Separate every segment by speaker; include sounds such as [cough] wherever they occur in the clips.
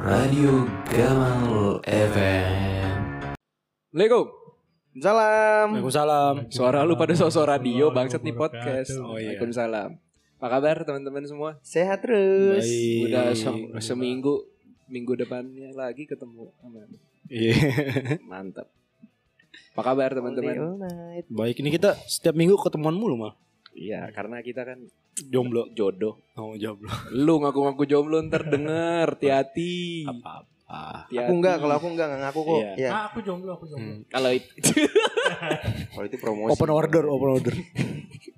Speaker 1: Radio Gamal FM.
Speaker 2: Assalamualaikum.
Speaker 3: Salam.
Speaker 2: Waalaikumsalam. Suara lu pada sosok radio bangsat nih podcast.
Speaker 4: Waalaikumsalam.
Speaker 2: Waalaikumsalam. Apa kabar teman-teman semua?
Speaker 3: Sehat terus.
Speaker 2: Udah se- seminggu minggu depannya lagi ketemu. Aman. Iya. [laughs] Mantap. Apa kabar teman-teman?
Speaker 3: All day, all night.
Speaker 4: Baik, ini kita setiap minggu ketemuan mulu mah.
Speaker 2: Iya, karena kita kan
Speaker 4: Jomblo.
Speaker 2: jodoh.
Speaker 4: Oh, jomblo.
Speaker 2: Lu ngaku-ngaku jomblo ntar denger, hati-hati.
Speaker 4: Apa-apa.
Speaker 2: Hati-hati.
Speaker 3: Aku enggak, kalau aku enggak enggak ngaku kok.
Speaker 4: Iya.
Speaker 3: Iya.
Speaker 4: Ah.
Speaker 5: aku jomblo, aku jomblo.
Speaker 4: Hmm.
Speaker 2: kalau [laughs] itu
Speaker 3: Kalau itu promosi.
Speaker 4: Open order, open [laughs] order.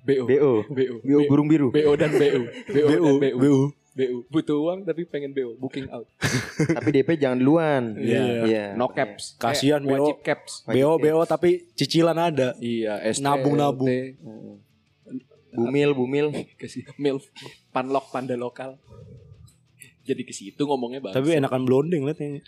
Speaker 2: BO.
Speaker 3: BO.
Speaker 2: BO.
Speaker 3: BO burung biru.
Speaker 2: BO dan BU. BO dan
Speaker 4: BU,
Speaker 2: BU.
Speaker 4: BU.
Speaker 2: BU. Butuh uang tapi pengen BO, booking out.
Speaker 3: Tapi DP jangan duluan.
Speaker 4: Iya.
Speaker 3: Iya.
Speaker 2: No caps.
Speaker 4: Kasihan,
Speaker 2: Eh, wajib
Speaker 4: Bro.
Speaker 2: caps.
Speaker 4: BO, BO tapi cicilan ada.
Speaker 2: Iya, ST,
Speaker 4: Nabung-nabung.
Speaker 2: LT.
Speaker 3: Heeh. Bumil, bumil.
Speaker 2: Kasih milf, panlok, panda lokal. Jadi ke situ ngomongnya bang.
Speaker 4: Tapi enakan blonding liatnya.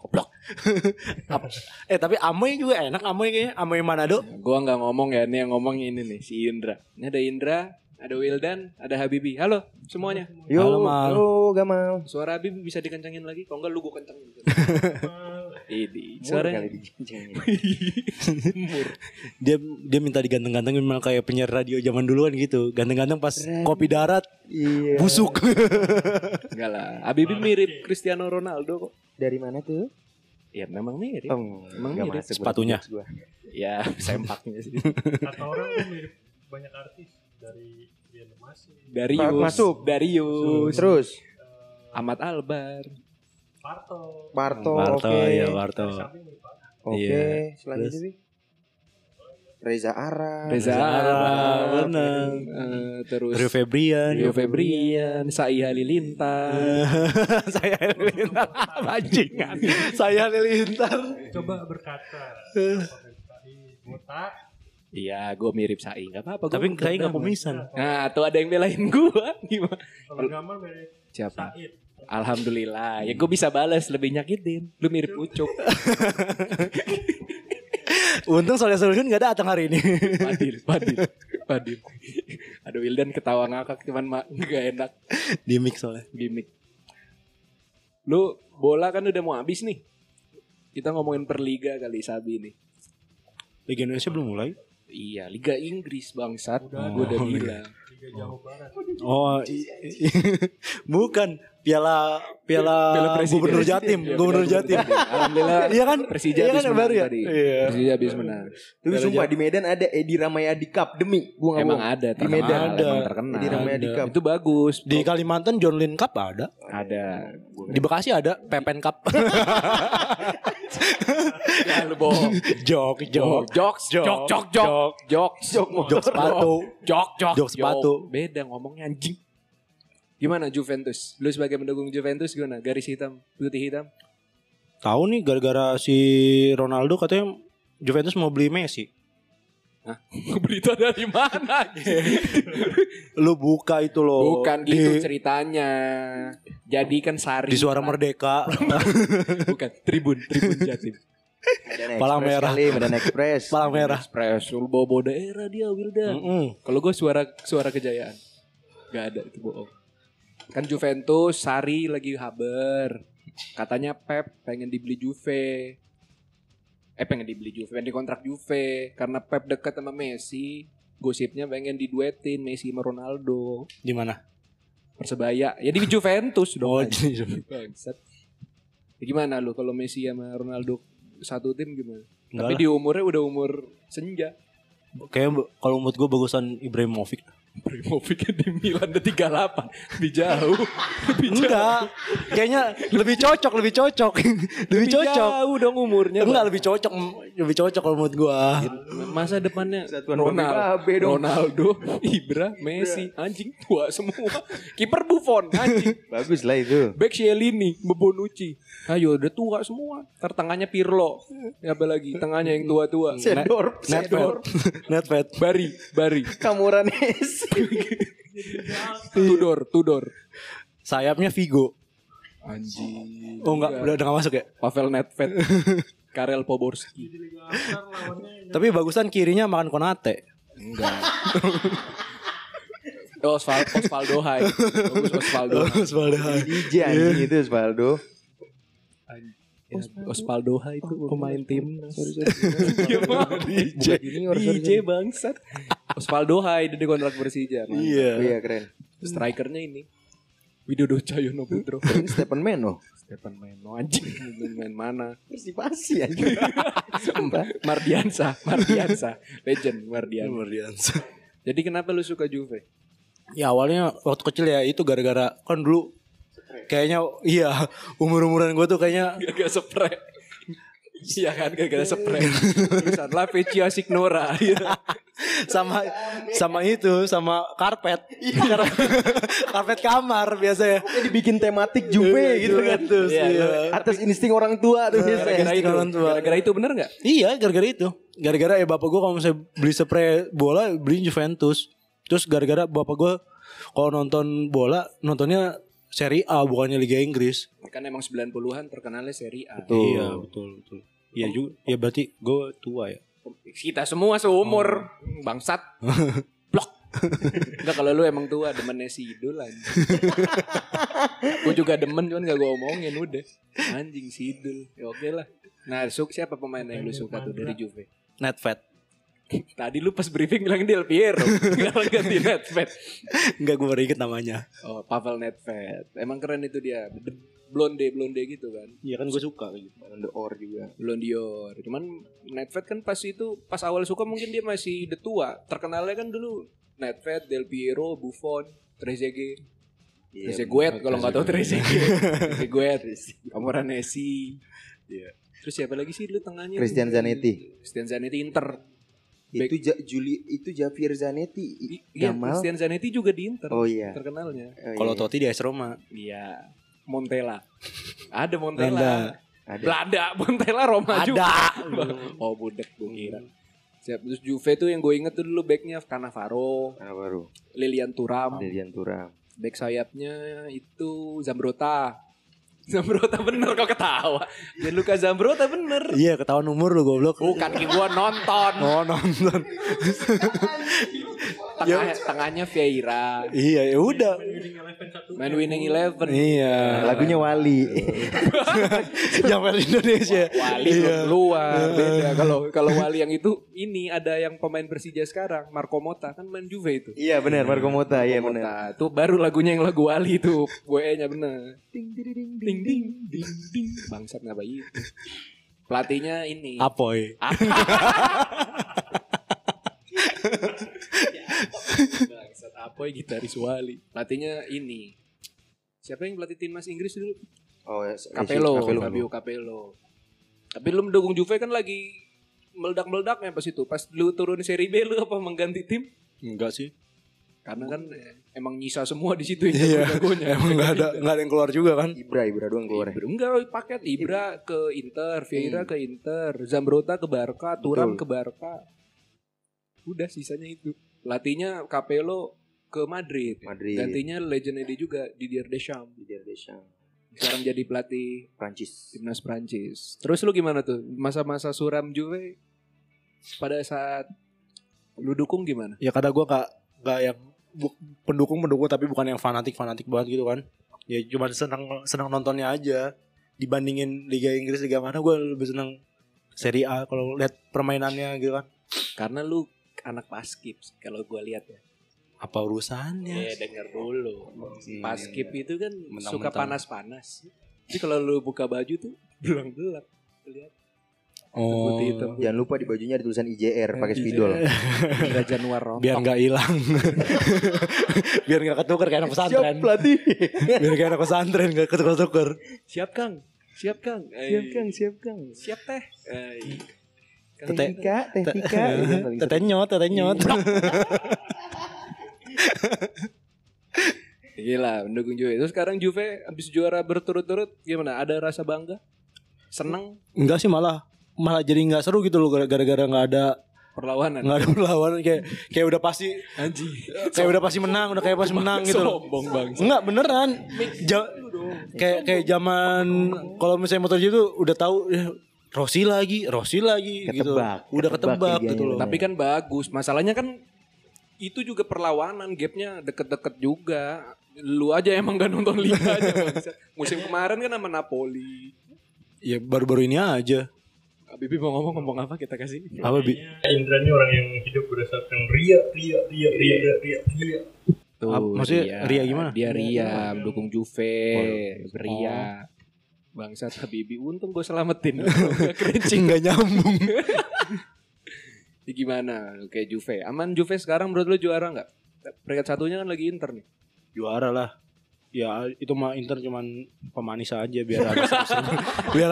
Speaker 4: Goblok. [laughs] Ap- eh, tapi Amoy juga enak Amoy kayaknya. Amoy Manado.
Speaker 2: gua nggak ngomong ya, ini yang ngomong ini nih si Indra. Ini ada Indra, ada Wildan, ada Habibi. Halo semuanya.
Speaker 3: Yo,
Speaker 4: Halo, Mal.
Speaker 3: yo, Gamal.
Speaker 2: Suara Habibi bisa dikencangin lagi, kalau enggak lu gua [laughs] kencangin. Ini
Speaker 3: Murah kali
Speaker 2: suaranya
Speaker 3: dijencengin.
Speaker 2: mur.
Speaker 4: Dia dia minta diganteng-gantengin memang kayak penyiar radio zaman duluan gitu. Ganteng-ganteng pas kopi darat
Speaker 3: Iya.
Speaker 4: busuk.
Speaker 2: Enggak lah, Habibi mirip Cristiano Ronaldo kok.
Speaker 3: Dari mana tuh?
Speaker 2: Ya memang mirip.
Speaker 3: Oh,
Speaker 2: Emang
Speaker 3: nggak
Speaker 2: mirip
Speaker 3: masuk
Speaker 4: sepatunya.
Speaker 3: buat gua.
Speaker 2: Ya [laughs] sempaknya sih.
Speaker 5: Kata orang tuh mirip banyak artis dari Rian Masih,
Speaker 2: Darius,
Speaker 3: Masuk.
Speaker 2: Darius,
Speaker 3: Terus,
Speaker 2: Ahmad Albar.
Speaker 5: Parto.
Speaker 3: Parto, oke.
Speaker 4: Parto, ya Parto.
Speaker 5: Samping mirip Parto.
Speaker 3: Oke,
Speaker 4: Iya.
Speaker 3: selanjutnya
Speaker 4: Terus?
Speaker 3: Bi. Reza Arab.
Speaker 2: Reza
Speaker 4: Arab,
Speaker 2: Arab,
Speaker 4: Ah, bener.
Speaker 2: eh, terus
Speaker 4: Rio Febrian.
Speaker 2: Rio Febrian, Sai Halilintar.
Speaker 4: [laughs] saya Halilintar Eh,
Speaker 2: [laughs]
Speaker 4: Bajingan Saya Halilintar
Speaker 5: Coba berkata. Apa mirip tadi? Botak.
Speaker 2: Eh. Iya, gue mirip Sai, nggak apa-apa. gua
Speaker 4: Tapi
Speaker 2: bukan
Speaker 4: saya gak
Speaker 2: drama.
Speaker 4: kumisan
Speaker 2: Nah, tuh ada yang belain gue, [laughs] gimana?
Speaker 5: Kalau Gamal mirip
Speaker 2: Siapa?
Speaker 5: Said.
Speaker 2: Alhamdulillah, ya gue bisa balas lebih nyakitin. Lu mirip Ucup, [laughs]
Speaker 4: Untung Soleh Solihun gak datang hari ini
Speaker 2: Padil, Padil, Padil. Aduh, Wildan ketawa ngakak, cuman ma- [laughs] nggak enak
Speaker 4: [laughs] Di mix Soleh
Speaker 2: gimmick. Lu bola kan udah mau habis nih. Kita ngomongin perliga kali Sabi nih.
Speaker 4: Liga Indonesia belum mulai
Speaker 2: Iya, Liga Inggris bangsat.
Speaker 5: Udah.
Speaker 2: Gue udah bilang.
Speaker 5: Liga Jawa Barat.
Speaker 4: Oh i- i- [laughs] Bukan Piala Piala,
Speaker 2: Piala Presiden.
Speaker 4: Eh, Gubernur Jatim
Speaker 2: Iya,
Speaker 4: Gubernur
Speaker 2: Piala
Speaker 4: Jatim
Speaker 2: Gubernur Jatim. Alhamdulillah.
Speaker 4: Iya kan
Speaker 2: Persija
Speaker 4: Iya
Speaker 2: habis
Speaker 4: kan yang
Speaker 2: menang
Speaker 4: baru ya
Speaker 2: tadi.
Speaker 4: Iya
Speaker 2: Persija habis menang.
Speaker 3: Tapi sumpah di Medan ada Edi Ramayadi Cup demi gua nggak
Speaker 2: Emang
Speaker 3: bohong.
Speaker 2: ada
Speaker 3: di Medan
Speaker 4: ada.
Speaker 2: emang terkenal.
Speaker 3: Edi Ramayadi
Speaker 4: Ada.
Speaker 3: Cup.
Speaker 2: Itu bagus.
Speaker 4: Di Kalimantan John Lynn Cup ada
Speaker 2: ada.
Speaker 4: Di Bekasi ada Pepen
Speaker 2: [laughs]
Speaker 4: Cup
Speaker 2: Ya lu bohong.
Speaker 4: Jok
Speaker 2: Jok,
Speaker 4: Oh,
Speaker 2: jok,
Speaker 4: Jok
Speaker 2: Oh, jok, jok, jok, jok, jok,
Speaker 4: Jok sepatu
Speaker 2: jok, jok,
Speaker 4: Jok sepatu.
Speaker 2: Beda ngomongnya anjing. Gimana Juventus? Lu sebagai pendukung Juventus gimana? Garis hitam, putih hitam.
Speaker 4: Tahu nih gara-gara si Ronaldo katanya Juventus mau beli Messi
Speaker 2: [laughs] Berita dari mana?
Speaker 4: Lu buka itu loh
Speaker 2: Bukan
Speaker 4: di,
Speaker 2: gitu ceritanya. Jadi kan Sari.
Speaker 4: Di Suara Merdeka
Speaker 2: Bukan, Tribun, Tribun [laughs] Jatim.
Speaker 3: Medan
Speaker 4: Palang
Speaker 3: Express
Speaker 4: merah.
Speaker 3: kali, Medan Express.
Speaker 4: Palang merah
Speaker 2: Express, lu bawa bawa daerah dia Wildan.
Speaker 4: Mm-mm.
Speaker 2: Kalau gue suara suara kejayaan, nggak ada itu bohong. Kan Juventus, Sari lagi haber. Katanya Pep pengen dibeli Juve. Eh pengen dibeli Juve, pengen dikontrak Juve karena Pep dekat sama Messi. Gosipnya pengen diduetin Messi sama Ronaldo.
Speaker 4: Di mana?
Speaker 2: Persebaya. Ya di Juventus
Speaker 4: Oh,
Speaker 2: dong.
Speaker 4: di Juventus.
Speaker 2: Bangsat. Ya, Gimana lu kalau Messi sama Ronaldo satu tim gimana?
Speaker 4: Enggak
Speaker 2: Tapi
Speaker 4: lah.
Speaker 2: di umurnya udah umur senja.
Speaker 4: Kayaknya bu- kalau menurut gue bagusan Ibrahimovic.
Speaker 2: Primovic di Milan udah 38 Lebih jauh Lebih
Speaker 4: Enggak. Kayaknya lebih cocok, lebih cocok. lebih cocok.
Speaker 2: jauh dong umurnya
Speaker 4: Enggak lebih cocok, lebih cocok kalau menurut [laughs] gue.
Speaker 2: Bang. Masa depannya
Speaker 3: Satuan
Speaker 2: Ronaldo,
Speaker 3: babe-babe dong.
Speaker 2: Ronaldo, Ibra, Messi Anjing tua semua Kiper Buffon Anjing
Speaker 3: Bagus lah itu.
Speaker 2: Back Shelini Bonucci Ayo udah tua semua Ntar tengahnya Pirlo Ya, Apa lagi Tengahnya yang tua-tua Nah,
Speaker 3: Sedorp,
Speaker 4: Netfed.
Speaker 3: Sedorp. [laughs]
Speaker 4: Netfed.
Speaker 2: Bari Bari
Speaker 4: Iya.
Speaker 3: Kamuranes.
Speaker 2: Tudor Tudor
Speaker 4: Sayapnya Vigo.
Speaker 2: Anjing
Speaker 4: Oh enggak, udah udah enggak masuk ya.
Speaker 2: Pavel Nedved Karel Poborski
Speaker 5: Di Liga Asar lawannya
Speaker 4: Tapi bagusan kirinya makan Konate.
Speaker 2: Enggak Oh, Osval- Osvaldo
Speaker 4: [laughs]
Speaker 2: Hai. Bagus Osvaldo.
Speaker 4: Osvaldo Hai.
Speaker 3: DJ anjing Iya. itu Spaldo.
Speaker 2: Ya, Osvaldo Hai itu pemain tim. [laughs] Ya,
Speaker 4: DJ.
Speaker 2: DJ bangsat. Osvaldo Hai dia kontrak Persija. man.
Speaker 3: Oh
Speaker 4: Iya.
Speaker 3: iya keren.
Speaker 2: Strikernya ini. Widodo Cahyono Putro. [laughs]
Speaker 3: Keren Stephen Meno.
Speaker 2: Stefan Meno anjing. Main mana?
Speaker 3: Persipasi anjing. [laughs] Sumpah.
Speaker 2: Mardiansa, Mardiansa, legend Mardiansa. Jadi kenapa lu suka Juve?
Speaker 4: Ya awalnya waktu kecil ya itu gara-gara kan dulu kayaknya iya umur-umuran gue tuh kayaknya [laughs]
Speaker 2: Gak spray. Iya kan gara-gara spray. Tulisan La Vecchia [laughs] Signora. Gitu.
Speaker 4: sama sama itu sama karpet. [laughs] karpet kamar biasanya.
Speaker 3: Dia dibikin tematik Juve gitu kan.
Speaker 4: terus.
Speaker 2: Iya,
Speaker 4: iya.
Speaker 3: Atas insting orang tua tuh
Speaker 2: Gara-gara
Speaker 3: biasanya.
Speaker 2: itu,
Speaker 4: orang tua.
Speaker 2: gara-gara itu bener gak?
Speaker 4: Iya gara-gara itu Gara-gara ya bapak gue kalau misalnya beli spray bola beli Juventus Terus gara-gara bapak gue kalau nonton bola nontonnya seri A bukannya Liga Inggris
Speaker 2: Kan emang 90-an terkenalnya seri A.
Speaker 4: Iya betul betul Iya juga Ya berarti gue tua ya
Speaker 2: Kita semua seumur. [laughs] Bangsat. Blok. Enggak kalau lu emang tua demennya si Idul [laughs] anjing. gue juga demen cuman gak gue omongin udah. Anjing si Idul. Ya oke lah. Nah, Suk siapa pemain yang lu suka tuh dari Juve?
Speaker 4: Net fat [laughs]
Speaker 2: Tadi lu pas briefing bilang Del [laughs] Piero. Sekarang ganti Nedved.
Speaker 4: Enggak gue baru inget namanya
Speaker 2: Oh, Pavel Nedved. Emang keren itu dia. Be- Blonde, blonde gitu kan.
Speaker 4: Iya kan gue suka gitu
Speaker 3: On the or juga.
Speaker 2: Blondior. Cuman Nedved kan pas itu, pas awal suka mungkin dia masih the tua. Terkenalnya kan dulu Nedved, Del Piero, Buffon, Trezeguet.
Speaker 3: Iya,
Speaker 2: Trezeguet kalau nggak tahu Trezeguet.
Speaker 3: [laughs]
Speaker 2: Trezeguet. Amoranesi. Iya. Terus siapa lagi sih lu tengahnya?
Speaker 3: Christian Zanetti.
Speaker 2: Christian Zanetti Inter.
Speaker 3: Itu Ja- Juli itu Javier Zanetti.
Speaker 2: I- Iya,
Speaker 3: Gamal.
Speaker 2: Christian Zanetti juga di Inter.
Speaker 3: Oh iya.
Speaker 2: Terkenalnya.
Speaker 3: Oh, iya.
Speaker 4: Kalau Totti di AS Roma
Speaker 2: Iya. Montella. Ada
Speaker 4: Belanda.
Speaker 2: Montella.
Speaker 3: Ada.
Speaker 2: Belanda. [laughs] Montella Roma juga.
Speaker 4: Ada.
Speaker 2: [laughs] oh budek gue kira. Siap. Terus Juve tuh yang gue inget tuh dulu backnya Cannavaro,
Speaker 3: Nah, baru
Speaker 2: Lilian Turam.
Speaker 3: Lilian Turam.
Speaker 2: Back sayapnya itu Zambrota. [laughs] Zambrota bener kok ketawa. Dan Luka Zambrota bener.
Speaker 4: Iya ketahuan umur lu goblok
Speaker 2: Bukan gue [laughs] nonton.
Speaker 4: Oh nonton
Speaker 2: Tengah, tengahnya Vieira.
Speaker 4: [laughs] Iya ya udah
Speaker 2: Main winning eleven.
Speaker 4: Iya
Speaker 3: Lagunya Wali.
Speaker 4: Yang versi Indonesia Iya.
Speaker 2: Wali belum keluar. Beda. Kalau kalau Wali yang itu ini ada yang pemain Persija sekarang, Marco Motta kan main Juve itu.
Speaker 3: iya benar Marco Mota, iya benar.
Speaker 2: Nah, itu baru lagunya yang lagu Wali itu, WE-nya bener. Ding ding ding ding ding ding ding. Bangsat ngapa itu. Pelatihnya ini.
Speaker 4: Apoy
Speaker 2: Bangsat apa ya gitaris Wali. Pelatihnya ini. Siapa yang pelatih timnas Inggris dulu?
Speaker 3: Oh, ya, si-
Speaker 2: Capello,
Speaker 3: Capello.
Speaker 2: Fabio Capello. Tapi lu mendukung Juve kan lagi meledak-meledaknya pas itu. Pas lu turun seri B lu apa mengganti tim?
Speaker 4: Enggak sih
Speaker 2: Karena kan emang nyisa semua di situ ya
Speaker 4: Iya,
Speaker 2: jago-jagonya.
Speaker 4: [laughs] emang nggak ada nggak ada yang keluar juga kan?
Speaker 3: Ibra, Ibra doang keluar.
Speaker 2: Ibra, enggak oh, paket Ibra ke Inter, Vieira ke Inter, Zambrota ke Barca, Turam ke Barca. Udah sisanya itu. Pelatihnya Capello ke Madrid.
Speaker 3: Madrid.
Speaker 2: Gantinya legend dia juga Didier Deschamps.
Speaker 3: Didier Deschamps,
Speaker 2: Sekarang jadi pelatih
Speaker 3: Prancis.
Speaker 2: timnas Prancis. Terus lu gimana tuh masa-masa suram Juve? Pada saat lu dukung gimana?
Speaker 4: Ya kadang gue nggak nggak yang bu- pendukung pendukung tapi bukan yang fanatik fanatik banget gitu kan? Ya cuma senang senang nontonnya aja. Dibandingin Liga Inggris Liga mana gue lebih senang Serie A kalau lihat permainannya gitu kan?
Speaker 2: Karena lu anak paskib sih, kalau gua lihat ya.
Speaker 4: Apa urusannya?
Speaker 2: Ya denger dulu.
Speaker 3: Hmm.
Speaker 2: Paskib itu kan
Speaker 4: Mentang-mentang.
Speaker 2: suka panas-panas. Jadi kalau lu buka baju tuh [laughs] belang-belang. Lihat
Speaker 4: Oh,
Speaker 2: putih itu. Iya.
Speaker 3: Jangan lupa di bajunya ada tulisan IJR Oh, pakai [laughs] spidol.
Speaker 2: Enggak Januar rontok.
Speaker 4: biar nggak hilang, [laughs] biar nggak ketuker kayak anak pesantren,
Speaker 3: pelatih.
Speaker 4: [laughs] biar kayak anak pesantren nggak ketuker-tuker.
Speaker 2: Siap Kang. Siap Kang.
Speaker 3: siap Kang, siap Kang.
Speaker 2: Siap Teh. Eh, Kang
Speaker 4: Tete.
Speaker 3: Tika, teh Tika.
Speaker 4: [laughs]
Speaker 3: Itu yang Iya, paling sering.
Speaker 4: Tetenyot, tetenyot.
Speaker 2: Gila, mendukung Juve. Terus sekarang Juve habis juara berturut-turut gimana? Ada rasa bangga? Seneng
Speaker 4: Enggak sih malah malah jadi nggak seru gitu loh gara-gara nggak ada
Speaker 2: perlawanan.
Speaker 4: nggak ada [laughs] perlawanan kayak kayak udah pasti
Speaker 2: Anjing.
Speaker 4: kayak udah pasti menang udah kayak pasti menang gitu loh
Speaker 2: Sombong bang.
Speaker 4: enggak beneran Ja- kayak kayak zaman kalau misalnya motor itu udah tahu ya, Rossi lagi Rossi lagi gitu
Speaker 3: Ketebak,
Speaker 4: udah
Speaker 3: ketebak
Speaker 4: ketebak
Speaker 3: liganya
Speaker 4: gitu loh
Speaker 2: Tapi kan bagus. Masalahnya kan itu juga perlawanan gapnya deket-deket juga lu aja emang gak nonton liga aja bangsat. musim kemarin kan sama Napoli
Speaker 4: Ya baru-baru ini aja.
Speaker 2: Bibi mau ngomong ngomong apa kita kasih
Speaker 4: Apa [laughs] bi?
Speaker 5: Indra ini orang yang hidup berdasarkan ria, ria, ria, ria, ria, ria, ria.
Speaker 2: Tuh,
Speaker 4: Ap- maksudnya Ria gimana?
Speaker 2: Dia Ria, dukung Juve,
Speaker 4: Oh.
Speaker 2: Ria. Bangsat Habibi, untung gue [laughs] selamatin. Gak kerincing.
Speaker 4: Nggak nyambung.
Speaker 2: Jadi gimana? Oke Juve. Aman Juve sekarang menurut lu juara nggak? Peringkat satunya kan lagi Inter nih.
Speaker 4: Juara lah. Ya itu mah Inter cuman pemanis aja [laughs] biar ada seru-seru. biar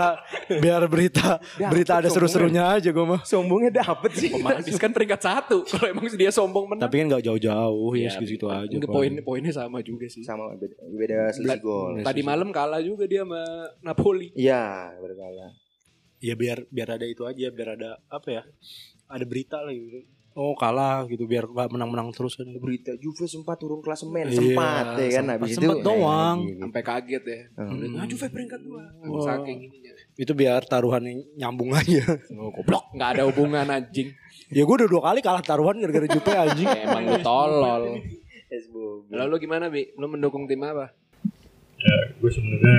Speaker 4: biar berita berita ada seru-serunya aja gue mah.
Speaker 3: Sombongnya dapet sih.
Speaker 2: Pemanis kan peringkat [laughs] satu. Kalau emang dia sombong menang.
Speaker 4: Tapi kan nggak jauh-jauh ya, segitu aja.
Speaker 2: Nggak,
Speaker 4: Bang.
Speaker 2: poin poinnya sama juga sih.
Speaker 3: Sama beda, beda selisih
Speaker 2: Bla-
Speaker 3: gol.
Speaker 2: Tadi malam kalah juga dia sama Napoli.
Speaker 3: Iya, beda kalah.
Speaker 4: ya biar biar ada itu aja biar ada apa ya ada berita lah gitu oh kalah gitu biar nggak menang-menang terus kan
Speaker 3: Berita Juve sempat turun klasemen,
Speaker 4: Iya,
Speaker 3: sempat ya kan
Speaker 4: sempat-
Speaker 3: habis itu.
Speaker 4: sempat
Speaker 3: naik
Speaker 4: doang.
Speaker 3: lagi gitu.
Speaker 2: Sampai kaget ya.
Speaker 3: Hmm.
Speaker 2: Ah, Juve peringkat dua.
Speaker 4: Wah.
Speaker 2: Saking ininya.
Speaker 4: itu biar taruhannya nyambung aja
Speaker 2: Oh, goblok. Nggak ada hubungan [laughs] anjing.
Speaker 4: ya gue udah dua kali kalah taruhan gara-gara Jupe anjing
Speaker 2: Ya, [laughs] emang lu tolol.
Speaker 3: Yes, Bu.
Speaker 2: Lalu lu gimana Bi? Lu mendukung tim apa?
Speaker 5: Ya, gue sebenarnya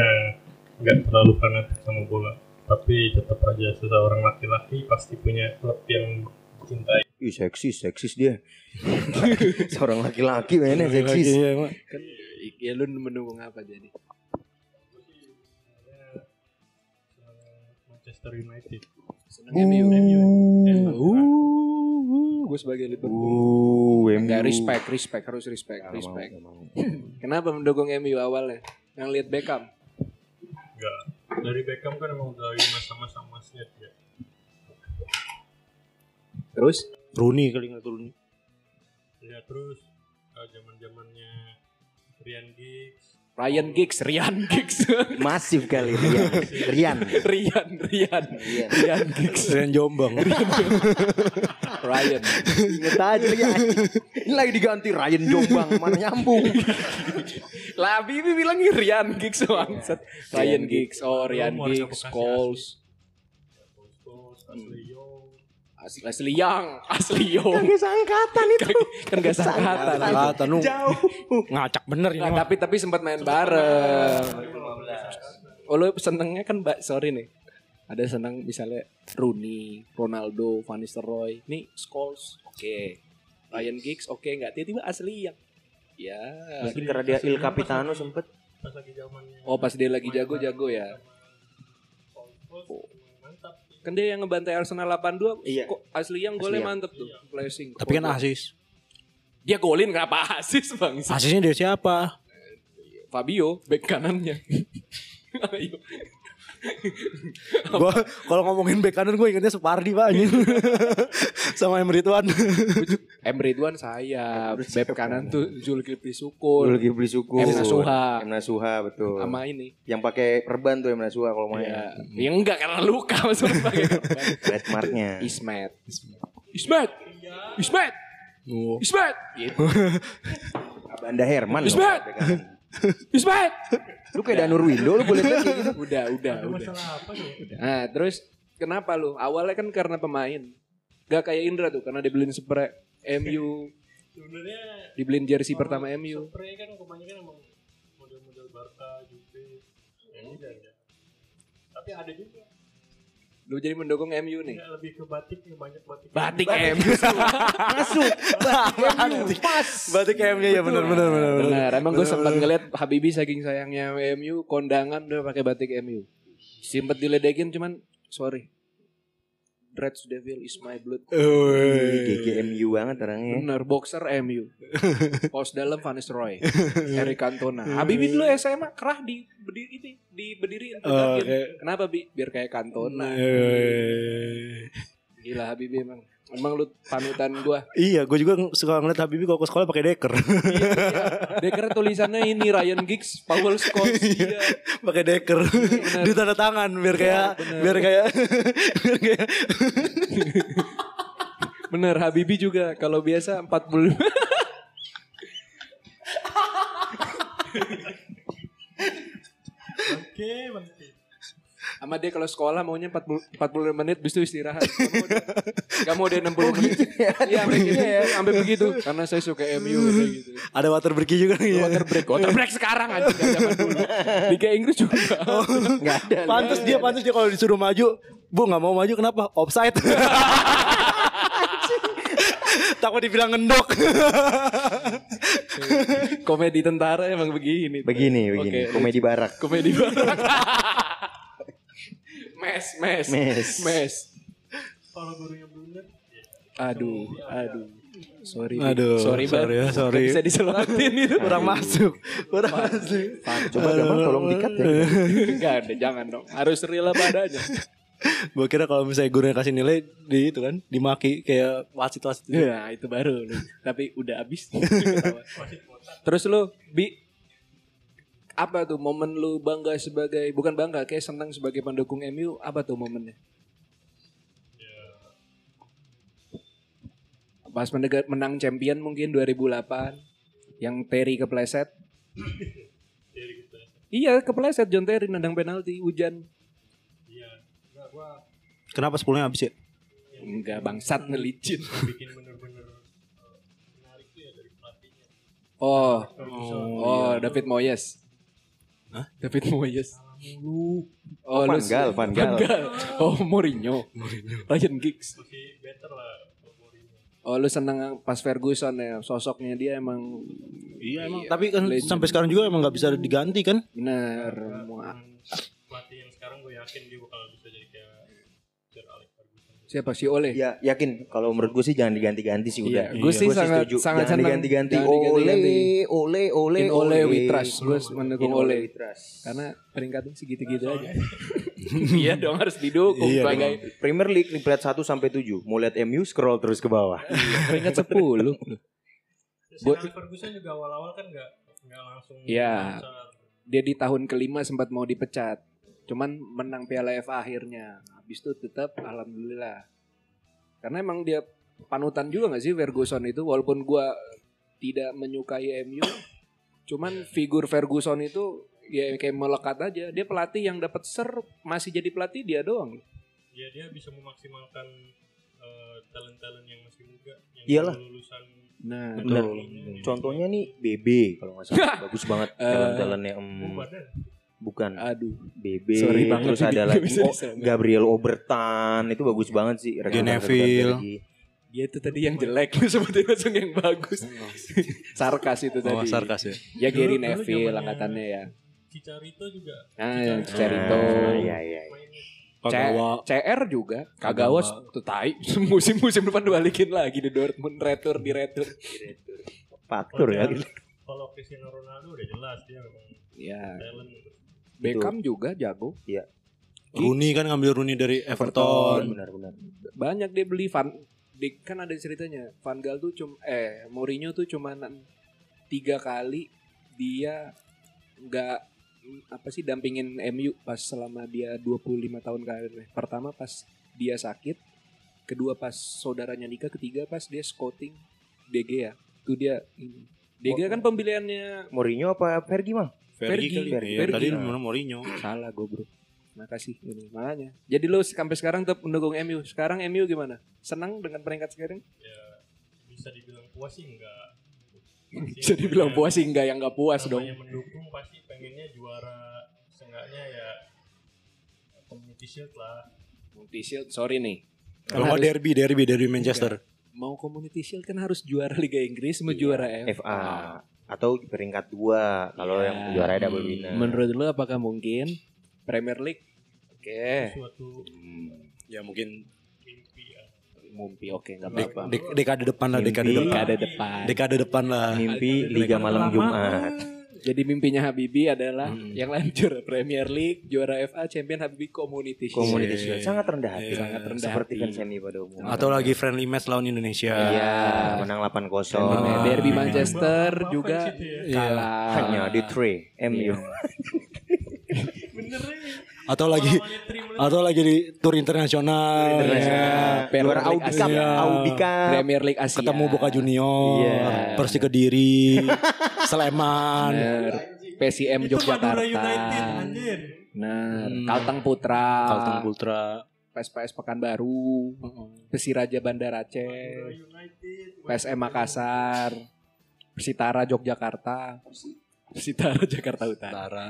Speaker 5: nggak terlalu fanatik sama bola. Tapi tetap aja seseorang laki-laki pasti punya klub yang cintai.
Speaker 3: Ih, seksis, seksis dia. Seorang laki-laki mainnya seksis.
Speaker 4: Iya, emang.
Speaker 2: Kan ya lu mendukung apa jadi?
Speaker 5: Manchester United.
Speaker 2: Seneng MU. ya?
Speaker 5: Dan
Speaker 2: Gue sebagai Liverpool.
Speaker 3: Uh,
Speaker 2: Enggak
Speaker 3: MU.
Speaker 2: respect, respect harus respect,
Speaker 3: Nggak mau,
Speaker 2: respect.
Speaker 3: nggak mau.
Speaker 2: [clears throat] Kenapa mendukung MU awalnya? Yang lihat Beckham.
Speaker 5: Enggak. Dari Beckham kan emang dari masa-masa emasnya dia.
Speaker 2: Terus
Speaker 4: Rooney kali nggak Rooney
Speaker 5: Ya terus eh, zaman-zamannya Rian Giggs,
Speaker 2: Ryan Giggs, Ryan Giggs. [laughs]
Speaker 3: Masif kali Rian. Rian.
Speaker 2: Ryan, Ryan.
Speaker 3: Rian.
Speaker 2: Ryan Giggs.
Speaker 4: Rian [laughs] Jombang
Speaker 2: Ryan.
Speaker 3: Ingat aja lagi. anjing. [laughs] Ini lagi diganti Ryan Jombang, mana [laughs] nyambung.
Speaker 2: Lah Bibi bilang Ryan Giggs bangsat. Ryan Iya, Giggs, oh Ryan
Speaker 5: Rumor sama
Speaker 2: Giggs,
Speaker 5: Bekasi
Speaker 2: Coles.
Speaker 5: Post, Ashley Young,
Speaker 2: Asli, asli yang, asli yang.
Speaker 3: Kayak seangkatan itu.
Speaker 2: Kan gak sangkatan.
Speaker 4: kata lu
Speaker 3: Jauh.
Speaker 4: ngacak bener ini
Speaker 2: Nah,
Speaker 4: mah
Speaker 2: tapi tapi sempat main bareng. Oh, lu senengnya kan Mbak, sorry nih. Ada seneng misalnya Rooney, Ronaldo, Van Nistelrooy. Nih, Scholes, oke. Ryan Giggs, oke. Nggak tiba-tiba asli yang. Ya.
Speaker 3: Mungkin Nah, karena dia Il Capitano sempet.
Speaker 5: pas lagi zamannya
Speaker 2: Oh, pas dia lagi jago-jago ya.
Speaker 5: Post, mantap.
Speaker 2: Kan dia yang ngebantai Arsenal 8-2.
Speaker 3: Iya.
Speaker 2: Kok asli yang golnya
Speaker 3: Asli yang.
Speaker 2: mantep tuh. Blessing.
Speaker 4: tapi kan asis
Speaker 2: Dia golin kenapa asis bang?
Speaker 4: asisnya dari [laughs] siapa
Speaker 2: Fabio, back kanannya. Ayo.
Speaker 4: gua kalau ngomongin bek kanan gue ingetnya Separdi pak [laughs] anjing sama Emre Tuan
Speaker 2: Emre Ridwan saya, back kanan tuh Zulkifli Syukur.
Speaker 3: lagi beli syukur.
Speaker 2: Emna Suha.
Speaker 3: Emna Suha, betul.
Speaker 2: sama ini.
Speaker 3: Yang pakai perban tuh Emna Suha kalau main.
Speaker 2: Ya, ya enggak karena luka [laughs] maksudnya pakai korban.
Speaker 3: [laughs] Trademarknya.
Speaker 2: Ismet. Ismet. Ismet. Ismet. Gitu.
Speaker 3: Abanda Herman. loh. kan.
Speaker 2: Ismet! Ismet.
Speaker 3: [laughs] Lu kayak Danur Windo lu boleh [laughs] lihat kayak gitu.
Speaker 2: Udah, udah, udah.
Speaker 5: Iya. Masalah apa ya?
Speaker 2: Nah, terus kenapa lu? Awalnya kan karena pemain. Gak kayak Indra tuh karena dibeliin spray MU,
Speaker 5: Sebenarnya
Speaker 2: dibeliin jersey pertama MU.
Speaker 5: Spray kan kebanyakan emang model-model Barca, Juve, ya
Speaker 2: Hmm.
Speaker 5: ini dan ya. Tapi ada juga
Speaker 2: Lu jadi mendukung MU nih.
Speaker 5: ya, lebih ke batik ya banyak batik.
Speaker 2: Batik MU.
Speaker 3: Masuk.
Speaker 4: [laughs]
Speaker 3: Pas.
Speaker 4: berarti kayaknya ya bener bener bener bener.
Speaker 2: Benar, emang gue sempat ngeliat Habibi saking sayangnya MU kondangan udah pakai batik MU. Simpet diledekin cuman sorry. Reds Devil is my blood.
Speaker 3: GGMU banget orangnya.
Speaker 2: Bener, boxer MU. Pos dalam Vanis Roy. Eric Cantona. Habibi dulu SMA kerah di berdiri ini, di berdiriin.
Speaker 4: Oh,
Speaker 2: tegangin.
Speaker 4: kayak-
Speaker 2: Kenapa Bi? Biar kayak Cantona.
Speaker 4: Iya. Eh,
Speaker 2: Gila Habibi emang. Emang lu panutan gua.
Speaker 4: Iya, gue juga suka ngeliat Habibie kalau ke sekolah pakai deker. [laughs]
Speaker 2: Deker tulisannya ini Ryan Giggs, Paul Scholes. Iya.
Speaker 4: pakai deker
Speaker 2: bener.
Speaker 4: di tanda tangan biar kayak
Speaker 2: bener.
Speaker 4: biar kayak [laughs] biar kayak
Speaker 2: Bener, Habibi juga. Kalau biasa 40.
Speaker 5: Oke, mantap.
Speaker 2: Sama dia kalau sekolah maunya 40 45 menit bis itu istirahat. Gak mau dia- Gak mau dia 60 menit. Iya, sampai gitu ya, sampai begitu. Karena saya suka MU kayak gitu.
Speaker 4: Ada water break juga kan, iya. nih.
Speaker 2: Water break, water break sekarang aja zaman dulu. Liga Inggris juga.
Speaker 3: Enggak ada.
Speaker 4: Pantes dia, pantes dia kalau disuruh maju, Bu nggak mau maju kenapa? Offside. [laughs] Takut dibilang ngendok.
Speaker 2: Komedi tentara emang begini.
Speaker 3: Begini, begini.
Speaker 2: Oke,
Speaker 3: Komedi barak.
Speaker 2: Komedi barat. mes, mes,
Speaker 3: Mes.
Speaker 2: mes.
Speaker 5: Kalau gurunya bener, ya.
Speaker 2: Aduh, aduh. Sorry,
Speaker 4: Aduh,
Speaker 2: sorry, Bang.
Speaker 4: sorry ya, sorry.
Speaker 2: Nggak Bisa diselatin itu.
Speaker 4: Kurang masuk. Kurang masuk.
Speaker 3: Coba Gamal tolong dikat
Speaker 4: [laughs]
Speaker 3: ya.
Speaker 2: Enggak ada, jangan dong. Harus real apa adanya.
Speaker 4: Gue kira kalau misalnya gurunya kasih nilai di itu kan dimaki kayak wasit-wasit. gitu.
Speaker 2: Nah, itu baru. [laughs] lu. Tapi udah habis. Terus lu, Bi, apa tuh momen lu bangga sebagai bukan bangga kayak senang sebagai pendukung MU apa tuh momennya Ya. pas mendegat menang champion mungkin 2008 yang Terry kepleset
Speaker 5: Jadi gitu
Speaker 2: iya
Speaker 5: ya.
Speaker 2: kepleset John Terry nendang penalti hujan
Speaker 5: Iya. Enggak, gua
Speaker 4: Kenapa sepuluhnya habis ya?
Speaker 2: enggak bangsat ngelicin
Speaker 5: bikin bener-bener eh, menarik tuh ya dari pelatihnya.
Speaker 2: oh oh
Speaker 5: Iya.
Speaker 2: David Moyes David Moyes Oh, lu-
Speaker 3: Van Gaal, Van Gaal.
Speaker 2: Gaal. Oh, Mourinho. Ryan Giggs.
Speaker 5: Masih better lah favoritnya.
Speaker 2: Oh, lu seneng pas Ferguson ya. Sosoknya dia emang
Speaker 4: Iya emang. Tapi kan
Speaker 2: legend.
Speaker 4: sampai sekarang juga emang nggak bisa diganti kan?
Speaker 2: bener.
Speaker 5: Iya, Pelatih yang sekarang gue yakin dia bakal bisa jadi kayak Sir Alex Ferguson.
Speaker 2: Siapa sih Oleh?
Speaker 3: Ya yakin kalau menurut gue sih jangan diganti-ganti sih udah.
Speaker 2: Gue sih
Speaker 3: Iya, Gua
Speaker 2: sangat
Speaker 3: setuju.
Speaker 2: sangat
Speaker 3: jangan
Speaker 2: senang.
Speaker 3: diganti-ganti.
Speaker 2: Jangan
Speaker 3: Ole,
Speaker 2: diganti-ganti.
Speaker 3: ole, ole,
Speaker 2: In Ole we trust. Gue mendukung
Speaker 3: In
Speaker 2: Ole.
Speaker 3: we trust.
Speaker 2: Karena peringkatnya segitu-gitu aja. iya [laughs] dong harus didukung
Speaker 4: Iya
Speaker 2: sebagai
Speaker 3: Premier League di peringkat 1 sampai 7. Mau lihat MU scroll terus ke bawah.
Speaker 2: peringkat 10.
Speaker 5: Terus
Speaker 2: Buat-
Speaker 5: Sir Alex Ferguson juga awal-awal kan enggak enggak langsung
Speaker 2: Iya.
Speaker 5: lancar.
Speaker 2: Dia di tahun kelima sempat mau dipecat. Cuman menang Piala FA akhirnya. Habis itu tetap alhamdulillah. Karena emang dia panutan juga gak sih Ferguson itu walaupun gua tidak menyukai MU. Cuman figur Ferguson itu ya kayak melekat aja. Dia pelatih yang dapat ser masih jadi pelatih dia doang.
Speaker 5: Ya dia bisa memaksimalkan eh, talent-talent yang masih muda yang
Speaker 3: Iyalah.
Speaker 5: lulusan
Speaker 2: Nah,
Speaker 3: Bener.
Speaker 5: Betul.
Speaker 3: Contohnya nih BB kalau nggak
Speaker 2: [laughs]
Speaker 3: salah bagus banget
Speaker 2: Eh.
Speaker 3: talent-talentnya. em,
Speaker 5: badan.
Speaker 3: bukan
Speaker 2: aduh.
Speaker 3: BB.
Speaker 2: Sorry banget
Speaker 3: terus
Speaker 2: sih, [laughs]
Speaker 3: ada
Speaker 2: nggak
Speaker 3: lagi
Speaker 2: bisa
Speaker 3: oh,
Speaker 2: disangka.
Speaker 3: Gabriel Obertan itu bagus banget sih. rekrutan-rekrutan
Speaker 4: Geneville.
Speaker 3: dari-
Speaker 2: Dia itu tadi yang jelek lu sebutin langsung yang
Speaker 3: Oh,
Speaker 2: [laughs] bagus. Sarkas itu tadi.
Speaker 4: sarkas ya.
Speaker 2: Ya Gary
Speaker 5: Dulu- dulu
Speaker 2: Neville
Speaker 5: zamannya-
Speaker 2: angkatannya ya.
Speaker 5: Cicarito juga
Speaker 2: Nah, yang Cerito.
Speaker 3: Nah, iya, iya, iya.
Speaker 5: main
Speaker 2: C- CR juga Kagawa tuh tai [laughs] musim-musim depan balikin lagi di Dortmund retur di retur.
Speaker 3: Faktur ya.
Speaker 5: Kalau- Kalau Cristiano Ronaldo udah jelas dia memang
Speaker 2: Ya,
Speaker 5: talent.
Speaker 2: Beckham juga jago.
Speaker 5: Gitu.
Speaker 4: Rooney kan ngambil Rooney dari
Speaker 3: Betul,
Speaker 4: Everton.
Speaker 3: Benar-benar.
Speaker 2: Banyak dia beli Van di, kan ada ceritanya Van Gaal tuh cum eh Mourinho tuh cuma tiga kali dia nggak apa sih dampingin MU pas selama dia 25 tahun karirnya. Pertama pas dia sakit, kedua pas saudaranya nikah, ketiga pas dia scouting DG ya. Itu dia ini. DG kan pembeliannya
Speaker 3: Mourinho apa Fergie mah?
Speaker 4: Fergie kali.
Speaker 2: Fergie.
Speaker 4: Iya, Tadi
Speaker 2: Fergie.
Speaker 4: mana Mourinho.
Speaker 5: Kan
Speaker 2: Salah gue bro Makasih ini makanya. Jadi lu sampai sekarang tetap mendukung MU. Sekarang MU gimana? Senang dengan peringkat sekarang?
Speaker 5: Ya, Bisa dibilang puas sih
Speaker 2: [laughs]
Speaker 5: enggak.
Speaker 2: Jadi bilang puas sih enggak yang enggak puas dong.
Speaker 5: Namanya mendukung pasti pengennya juara seenggaknya ya community shield lah.
Speaker 2: Community Shield, sorry nih.
Speaker 4: Kalau nggak derby, derby, derby Manchester.
Speaker 2: Mau Community Shield kan harus juara Liga Inggris, mau juara
Speaker 3: FA atau peringkat 2 kalau
Speaker 2: Ah. Iya.
Speaker 3: yang juara double winner.
Speaker 2: Menurut lu apakah mungkin Premier League? Oke,
Speaker 5: Suatu
Speaker 4: Ya mungkin
Speaker 5: mimpi ya.
Speaker 2: mumpi oke enggak
Speaker 4: dek-
Speaker 2: apa-apa.
Speaker 4: dek- dekade depan lah, dekade
Speaker 3: Mimpi.
Speaker 4: depan.
Speaker 2: Dekade depan.
Speaker 4: Dekade depan lah.
Speaker 3: Mimpi Liga Malam Jumat.
Speaker 2: Jadi mimpinya Habibi adalah
Speaker 4: Hmm.
Speaker 2: yang lain juara [laughs] Premier League, juara FA, Champion Habibi Community Shield.
Speaker 3: Community
Speaker 4: Iya.
Speaker 3: Shield sangat rendah hati.
Speaker 4: Iya,
Speaker 2: sangat rendah
Speaker 3: Seperti
Speaker 2: hati.
Speaker 3: kan semi pada umumnya.
Speaker 4: Atau lagi friendly match lawan Indonesia.
Speaker 3: Iya,
Speaker 2: Ini
Speaker 3: menang 8-0.
Speaker 2: Derby
Speaker 4: Ah.
Speaker 2: Manchester
Speaker 5: Apa- apa
Speaker 2: juga
Speaker 5: sih dia?
Speaker 4: Iya.
Speaker 2: kalah.
Speaker 3: Hanya di 3 MU.
Speaker 5: Bener ya.
Speaker 4: Atau lagi
Speaker 5: Awalnya Tri mulai
Speaker 4: atau lagi di tour internasional.
Speaker 3: Internasional.
Speaker 4: Iya.
Speaker 2: Premier
Speaker 3: Juara
Speaker 2: League
Speaker 3: Audi Cup,
Speaker 2: Asia.
Speaker 3: Audi Cup.
Speaker 2: Premier League Asia.
Speaker 4: Ketemu Boca Junior,
Speaker 3: Iya.
Speaker 4: Persi Kediri, Sleman.
Speaker 2: Iya. Bener. PSM
Speaker 5: Itu
Speaker 2: Yogyakarta.
Speaker 5: Madura United anjir.
Speaker 2: Nah,
Speaker 4: Hmm.
Speaker 2: Kalteng Putra,
Speaker 4: Kalteng Putra.
Speaker 2: PSPS Pekanbaru, Persiraja Bandar Aceh,
Speaker 5: Madura United.
Speaker 2: PSM Makassar, Persitara Yogyakarta, Persitara [laughs] Jakarta Utara.
Speaker 4: Tara.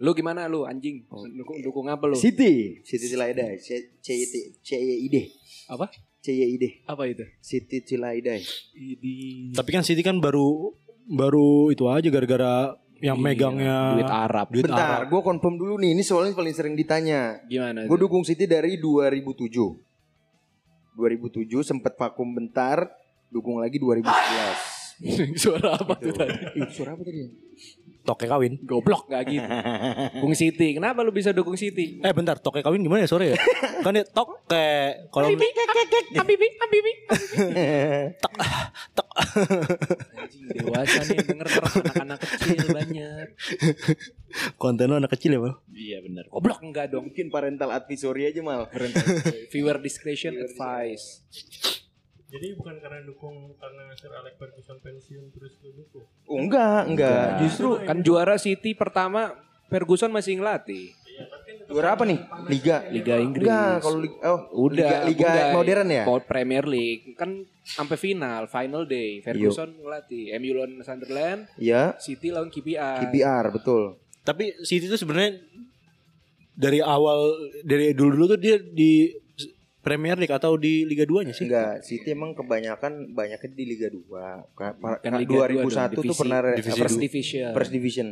Speaker 2: Lu gimana lu anjing? Dukung, dukung apa lu?
Speaker 3: City, City Cilaida, C- CYT, CYID,
Speaker 2: Apa?
Speaker 3: CYID,
Speaker 2: Apa itu? Iya.
Speaker 3: City Cilaida.
Speaker 2: Idi.
Speaker 4: Tapi kan City kan baru baru itu aja gara-gara yang
Speaker 2: Iya,
Speaker 4: megangnya [laughs]
Speaker 2: duit Arab.
Speaker 4: Duit
Speaker 3: Bentar, gue confirm dulu nih. Ini soalnya paling sering ditanya.
Speaker 2: Gimana?
Speaker 3: Gue
Speaker 2: itu?
Speaker 3: dukung City dari 2007. 2007 sempet vakum bentar, dukung lagi 2011.
Speaker 2: Suara apa tuh
Speaker 3: Gitu.
Speaker 2: tadi?
Speaker 3: Ih, suara apa tadi? ya?
Speaker 4: Toke kawin.
Speaker 2: Goblok gak
Speaker 3: [laughs]
Speaker 2: gitu. Dukung Siti. Kenapa lu bisa dukung Siti?
Speaker 4: Eh bentar, toke kawin gimana ya sore ya? kan ya toke kalau
Speaker 2: Abibi,
Speaker 3: Iya.
Speaker 2: Abibi, Abibi.
Speaker 3: [laughs]
Speaker 4: tok
Speaker 2: Anjing dewasa nih yang denger terus anak-anak kecil banyak.
Speaker 4: konten lu anak kecil ya, Bang.
Speaker 2: Iya benar. Goblok enggak dong.
Speaker 3: Mungkin parental advisory aja mal. Iya,
Speaker 2: Viewer discretion advice.
Speaker 5: Jadi bukan karena dukung karena Sir Alex Ferguson pensiun terus lu dukung.
Speaker 3: Oh, enggak, enggak. Justru
Speaker 2: kan juara City pertama Ferguson masih ngelatih
Speaker 3: juara apa nih? Liga.
Speaker 2: Liga Inggris.
Speaker 3: Enggak, kalau li- oh,
Speaker 2: Udah,
Speaker 3: Liga, Liga
Speaker 2: Bundai.
Speaker 3: modern ya?
Speaker 2: Kalau Premier League kan sampai final, final day. Ferguson ngelatih MU lawan Sunderland,
Speaker 3: Iya,
Speaker 2: City lawan KPR.
Speaker 3: KPR betul.
Speaker 4: Tapi Siti itu sebenarnya dari awal dari dulu-dulu tuh dia di Premier League atau di Liga 2-nya sih?
Speaker 3: Enggak, City emang kebanyakan banyaknya di Liga 2. Ka- pa-
Speaker 2: Bukan Kan Liga dua
Speaker 3: 2001
Speaker 2: dong,
Speaker 3: tuh pernah re-
Speaker 4: divisi
Speaker 2: First
Speaker 3: first,
Speaker 2: Division.
Speaker 3: first division.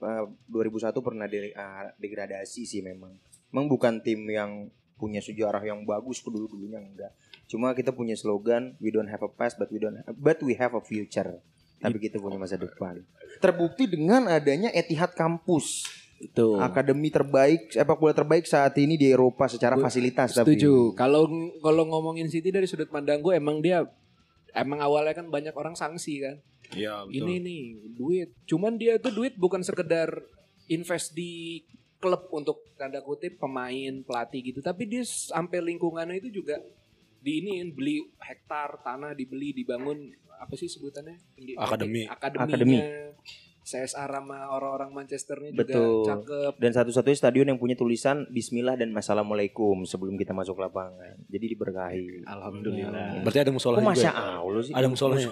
Speaker 3: Uh, 2001 pernah de- ah, degradasi sih memang. Emang bukan tim yang punya sejarah yang bagus dulu-dulunya enggak. Cuma kita punya slogan we don't have a past but we don't but we have a future. Tapi kita punya masa depan. Terbukti dengan adanya Etihad Kampus,
Speaker 2: Itu.
Speaker 3: akademi terbaik sepak bola terbaik saat ini di Eropa secara
Speaker 2: Gua
Speaker 3: fasilitas tapi.
Speaker 2: Setuju. Kalau kalau ngomongin City dari sudut pandang gue emang dia emang awalnya kan banyak orang sanksi kan.
Speaker 4: Iya,
Speaker 2: Ini nih duit. Cuman dia tuh duit bukan sekedar invest di klub untuk tanda kutip pemain, pelatih gitu, tapi dia sampai lingkungannya itu juga diinin beli hektar tanah dibeli dibangun apa sih sebutannya? Di-
Speaker 4: Akademi.
Speaker 2: Akademinya.
Speaker 3: Akademi.
Speaker 2: CSR sama orang-orang Manchesternya
Speaker 3: Betul.
Speaker 2: juga cakep.
Speaker 3: dan satu-satunya stadion yang punya tulisan Bismillah dan Assalamualaikum sebelum kita masuk lapangan. Jadi diberkahi.
Speaker 2: Alhamdulillah.
Speaker 4: Berarti ada musola
Speaker 3: Kok
Speaker 4: juga.
Speaker 3: masya
Speaker 4: ya?
Speaker 3: Allah sih?
Speaker 4: Ada musolanya.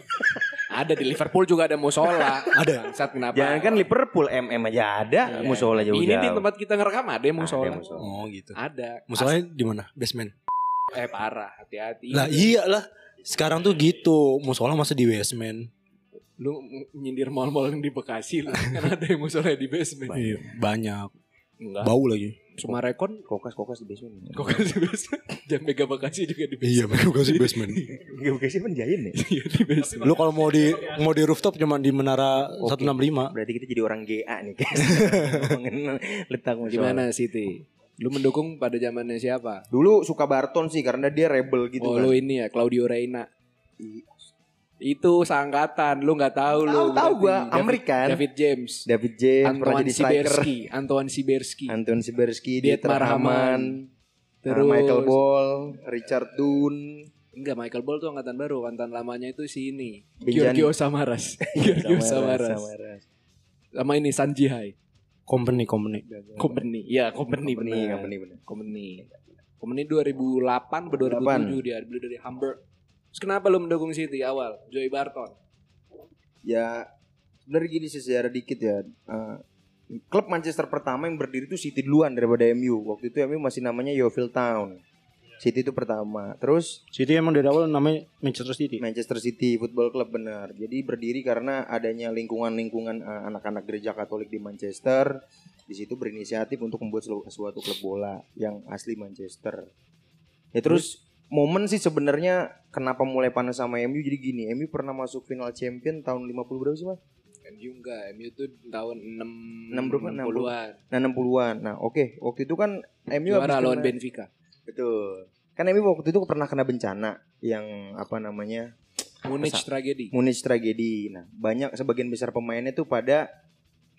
Speaker 2: Ada di Liverpool juga ada musola. ada. Saat kenapa?
Speaker 3: Jangan kan Liverpool MM aja ada,
Speaker 2: Iya.
Speaker 3: musola jauh-jauh.
Speaker 2: Ini di tempat kita ngerekam ada
Speaker 3: Ada
Speaker 2: musola.
Speaker 3: musola.
Speaker 4: Oh, gitu.
Speaker 2: Ada.
Speaker 4: Musolanya di mana? Basement.
Speaker 2: Eh parah, hati-hati.
Speaker 4: Lah iya. iyalah. Sekarang tuh gitu. Musola masa di basement.
Speaker 2: lu ng- nyindir mall-mall yang di Bekasi lu [laughs] kan ada yang musola di basement
Speaker 4: Iya, Banyak.
Speaker 2: enggak
Speaker 4: Bau lagi.
Speaker 2: cuma rekon
Speaker 3: Kokas kokas di basement.
Speaker 2: kok kan di basement [laughs] jam mega Bekasi juga di basement
Speaker 4: Iya, [laughs] mereka kasih basement.
Speaker 3: Gak sih penjahin ya.
Speaker 2: Iya, di basement
Speaker 4: Lu kalau mau di mau di rooftop cuman di menara
Speaker 3: Oke.
Speaker 4: 165.
Speaker 3: [laughs] Berarti kita jadi orang GA nih [laughs] guys. Ngomongin letak musola.
Speaker 2: gimana Siti lu mendukung pada zamannya siapa
Speaker 3: Dulu suka Barton sih karena dia rebel gitu
Speaker 2: oh
Speaker 3: kan.
Speaker 2: lu ini ya Claudio Reina
Speaker 3: I-
Speaker 2: itu seangkatan lu nggak tahu lu
Speaker 3: Tahu tahu
Speaker 2: berarti.
Speaker 3: gua
Speaker 2: David-
Speaker 3: Amerikan.
Speaker 2: David James
Speaker 3: David James pernah
Speaker 2: Antoine
Speaker 3: jadi striker.
Speaker 2: Siberski Antoine Siberski
Speaker 3: Anton Siberski,
Speaker 2: Dietmar Hamann.
Speaker 3: Dieter Hamann,
Speaker 2: terus
Speaker 3: Michael Ball, Richard Dunn,
Speaker 2: enggak Michael Ball tuh angkatan baru angkatan lamanya itu si ini
Speaker 3: Benjan-
Speaker 2: Giorgio
Speaker 3: [laughs]
Speaker 2: Samaras Giorgio Samaras,
Speaker 3: Iya, Samaras. Iya.
Speaker 2: sama ini Sanji Hai
Speaker 4: Company, company.
Speaker 2: company ya company
Speaker 3: Company,
Speaker 2: benar.
Speaker 3: company, benar.
Speaker 2: company company 2008 ke 2007 dia beli dari Hamburg Terus kenapa lu mendukung City awal Joey Barton
Speaker 3: Ya sebenarnya gini sih sejarah dikit ya. Eh, klub Manchester pertama yang berdiri itu City duluan daripada MU. Waktu itu MU masih namanya Yeovil Town. City itu pertama. Terus
Speaker 4: City emang dari awal namanya Manchester City.
Speaker 3: Manchester City Football Club benar. Jadi berdiri karena adanya lingkungan-lingkungan eh, anak-anak gereja Katolik di Manchester. Di situ berinisiatif untuk membuat selu- suatu klub bola yang asli Manchester. Ya terus momen sih sebenarnya kenapa mulai panas sama MU jadi gini. MU pernah masuk final champion tahun 50 berapa sih, Mas?
Speaker 2: MU enggak MU tuh tahun 6
Speaker 3: Enam berapa?
Speaker 2: 60-an
Speaker 3: Nah, 60-an. Nah, oke, waktu itu kan MU
Speaker 2: juara
Speaker 3: habis
Speaker 2: lawan
Speaker 3: kena-
Speaker 2: Benfica
Speaker 3: Betul. Kan MU waktu itu pernah kena bencana yang apa namanya?
Speaker 2: Munich
Speaker 3: Masa-
Speaker 2: tragedi
Speaker 3: Munich tragedi. Nah, banyak sebagian besar pemainnya tuh pada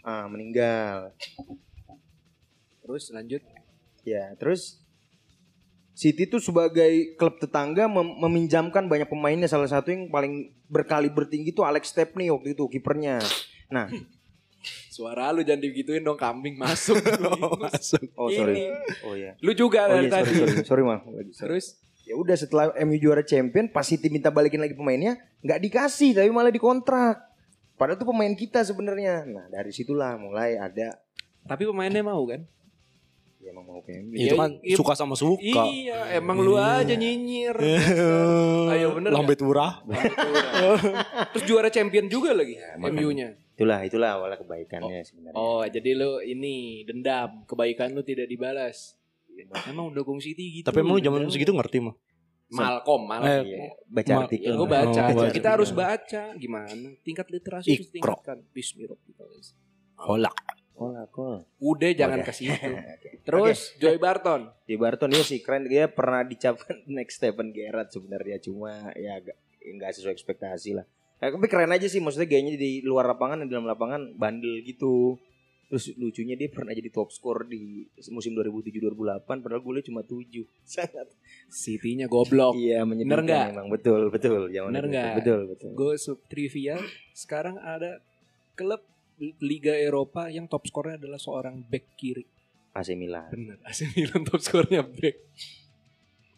Speaker 3: ah, meninggal.
Speaker 2: terus lanjut
Speaker 3: Ya, terus City tuh sebagai klub tetangga mem- meminjamkan banyak
Speaker 2: [laughs]
Speaker 3: pemainnya. Salah satu yang paling berkali bertinggi tuh Alex Stepney waktu itu kipernya. Nah,
Speaker 2: Suara lu jangan digituin dong kambing masuk.
Speaker 4: Masuk.
Speaker 3: [laughs] Oh
Speaker 2: Ini.
Speaker 3: sorry. Oh iya.
Speaker 2: Lu juga
Speaker 3: Oh
Speaker 2: dari
Speaker 3: iya sorry
Speaker 2: tadi.
Speaker 3: sorry sorry mal. Lagi, sorry.
Speaker 2: Terus
Speaker 3: Ya udah setelah MU juara champion pasti tim minta balikin lagi pemainnya nggak dikasih tapi malah dikontrak. Padahal tuh pemain kita sebenarnya. Nah dari situlah mulai ada
Speaker 2: tapi pemainnya mau kan?
Speaker 3: ya emang mau ke MU.
Speaker 4: Itu kan
Speaker 2: iya.
Speaker 4: suka sama suka.
Speaker 2: Iya, emang lu aja nyinyir.
Speaker 4: Iya. [laughs]
Speaker 2: Ayo, bener
Speaker 4: Lambet murah.
Speaker 2: Terus juara champion juga lagi
Speaker 4: Iya,
Speaker 3: makanya.
Speaker 2: MU-nya.
Speaker 3: Itulah itulah awalnya kebaikannya sebenarnya.
Speaker 2: Oh, jadi lu ini dendam, kebaikan lu tidak dibalas. Emang dukung City gitu.
Speaker 4: Tapi emang lu zaman segitu ngerti mah?
Speaker 2: Malcolm, Malcolm.
Speaker 4: Eh,
Speaker 3: Iya, baca
Speaker 4: Ma-
Speaker 3: artikel.
Speaker 2: Ya, gue
Speaker 4: Oh,
Speaker 2: baca.
Speaker 4: baca.
Speaker 2: Kita harus baca. Gimana? Tingkat literasi harus
Speaker 4: Ikro.
Speaker 2: ditingkatkan. Bismillahirrahmanirrahim.
Speaker 4: Kolak.
Speaker 3: Kol, kol.
Speaker 2: Udah jangan
Speaker 3: Oke.
Speaker 2: ke
Speaker 4: [laughs]
Speaker 2: situ. Terus Joy Barton.
Speaker 3: Di Barton dia sih keren dia pernah dicapkan [laughs] next Stephen Gerrard sebenarnya cuma ya agak nggak sesuai ekspektasi lah. Eh, tapi keren aja sih maksudnya gayanya di luar lapangan dan di dalam lapangan bandel gitu. Terus lucunya dia pernah jadi top skor di musim 2007-2008 padahal golnya cuma 7. Sangat.
Speaker 2: City-nya goblok.
Speaker 3: [laughs] Iya menyedihkan
Speaker 2: nggak?
Speaker 3: emang betul betul zaman
Speaker 2: Bener
Speaker 3: itu.
Speaker 2: nggak?
Speaker 3: Betul betul.
Speaker 2: Gue sub trivia. Sekarang ada klub Liga Eropa yang top skornya adalah seorang back kiri.
Speaker 3: AC Milan.
Speaker 2: Bener. AC Milan top skornya back.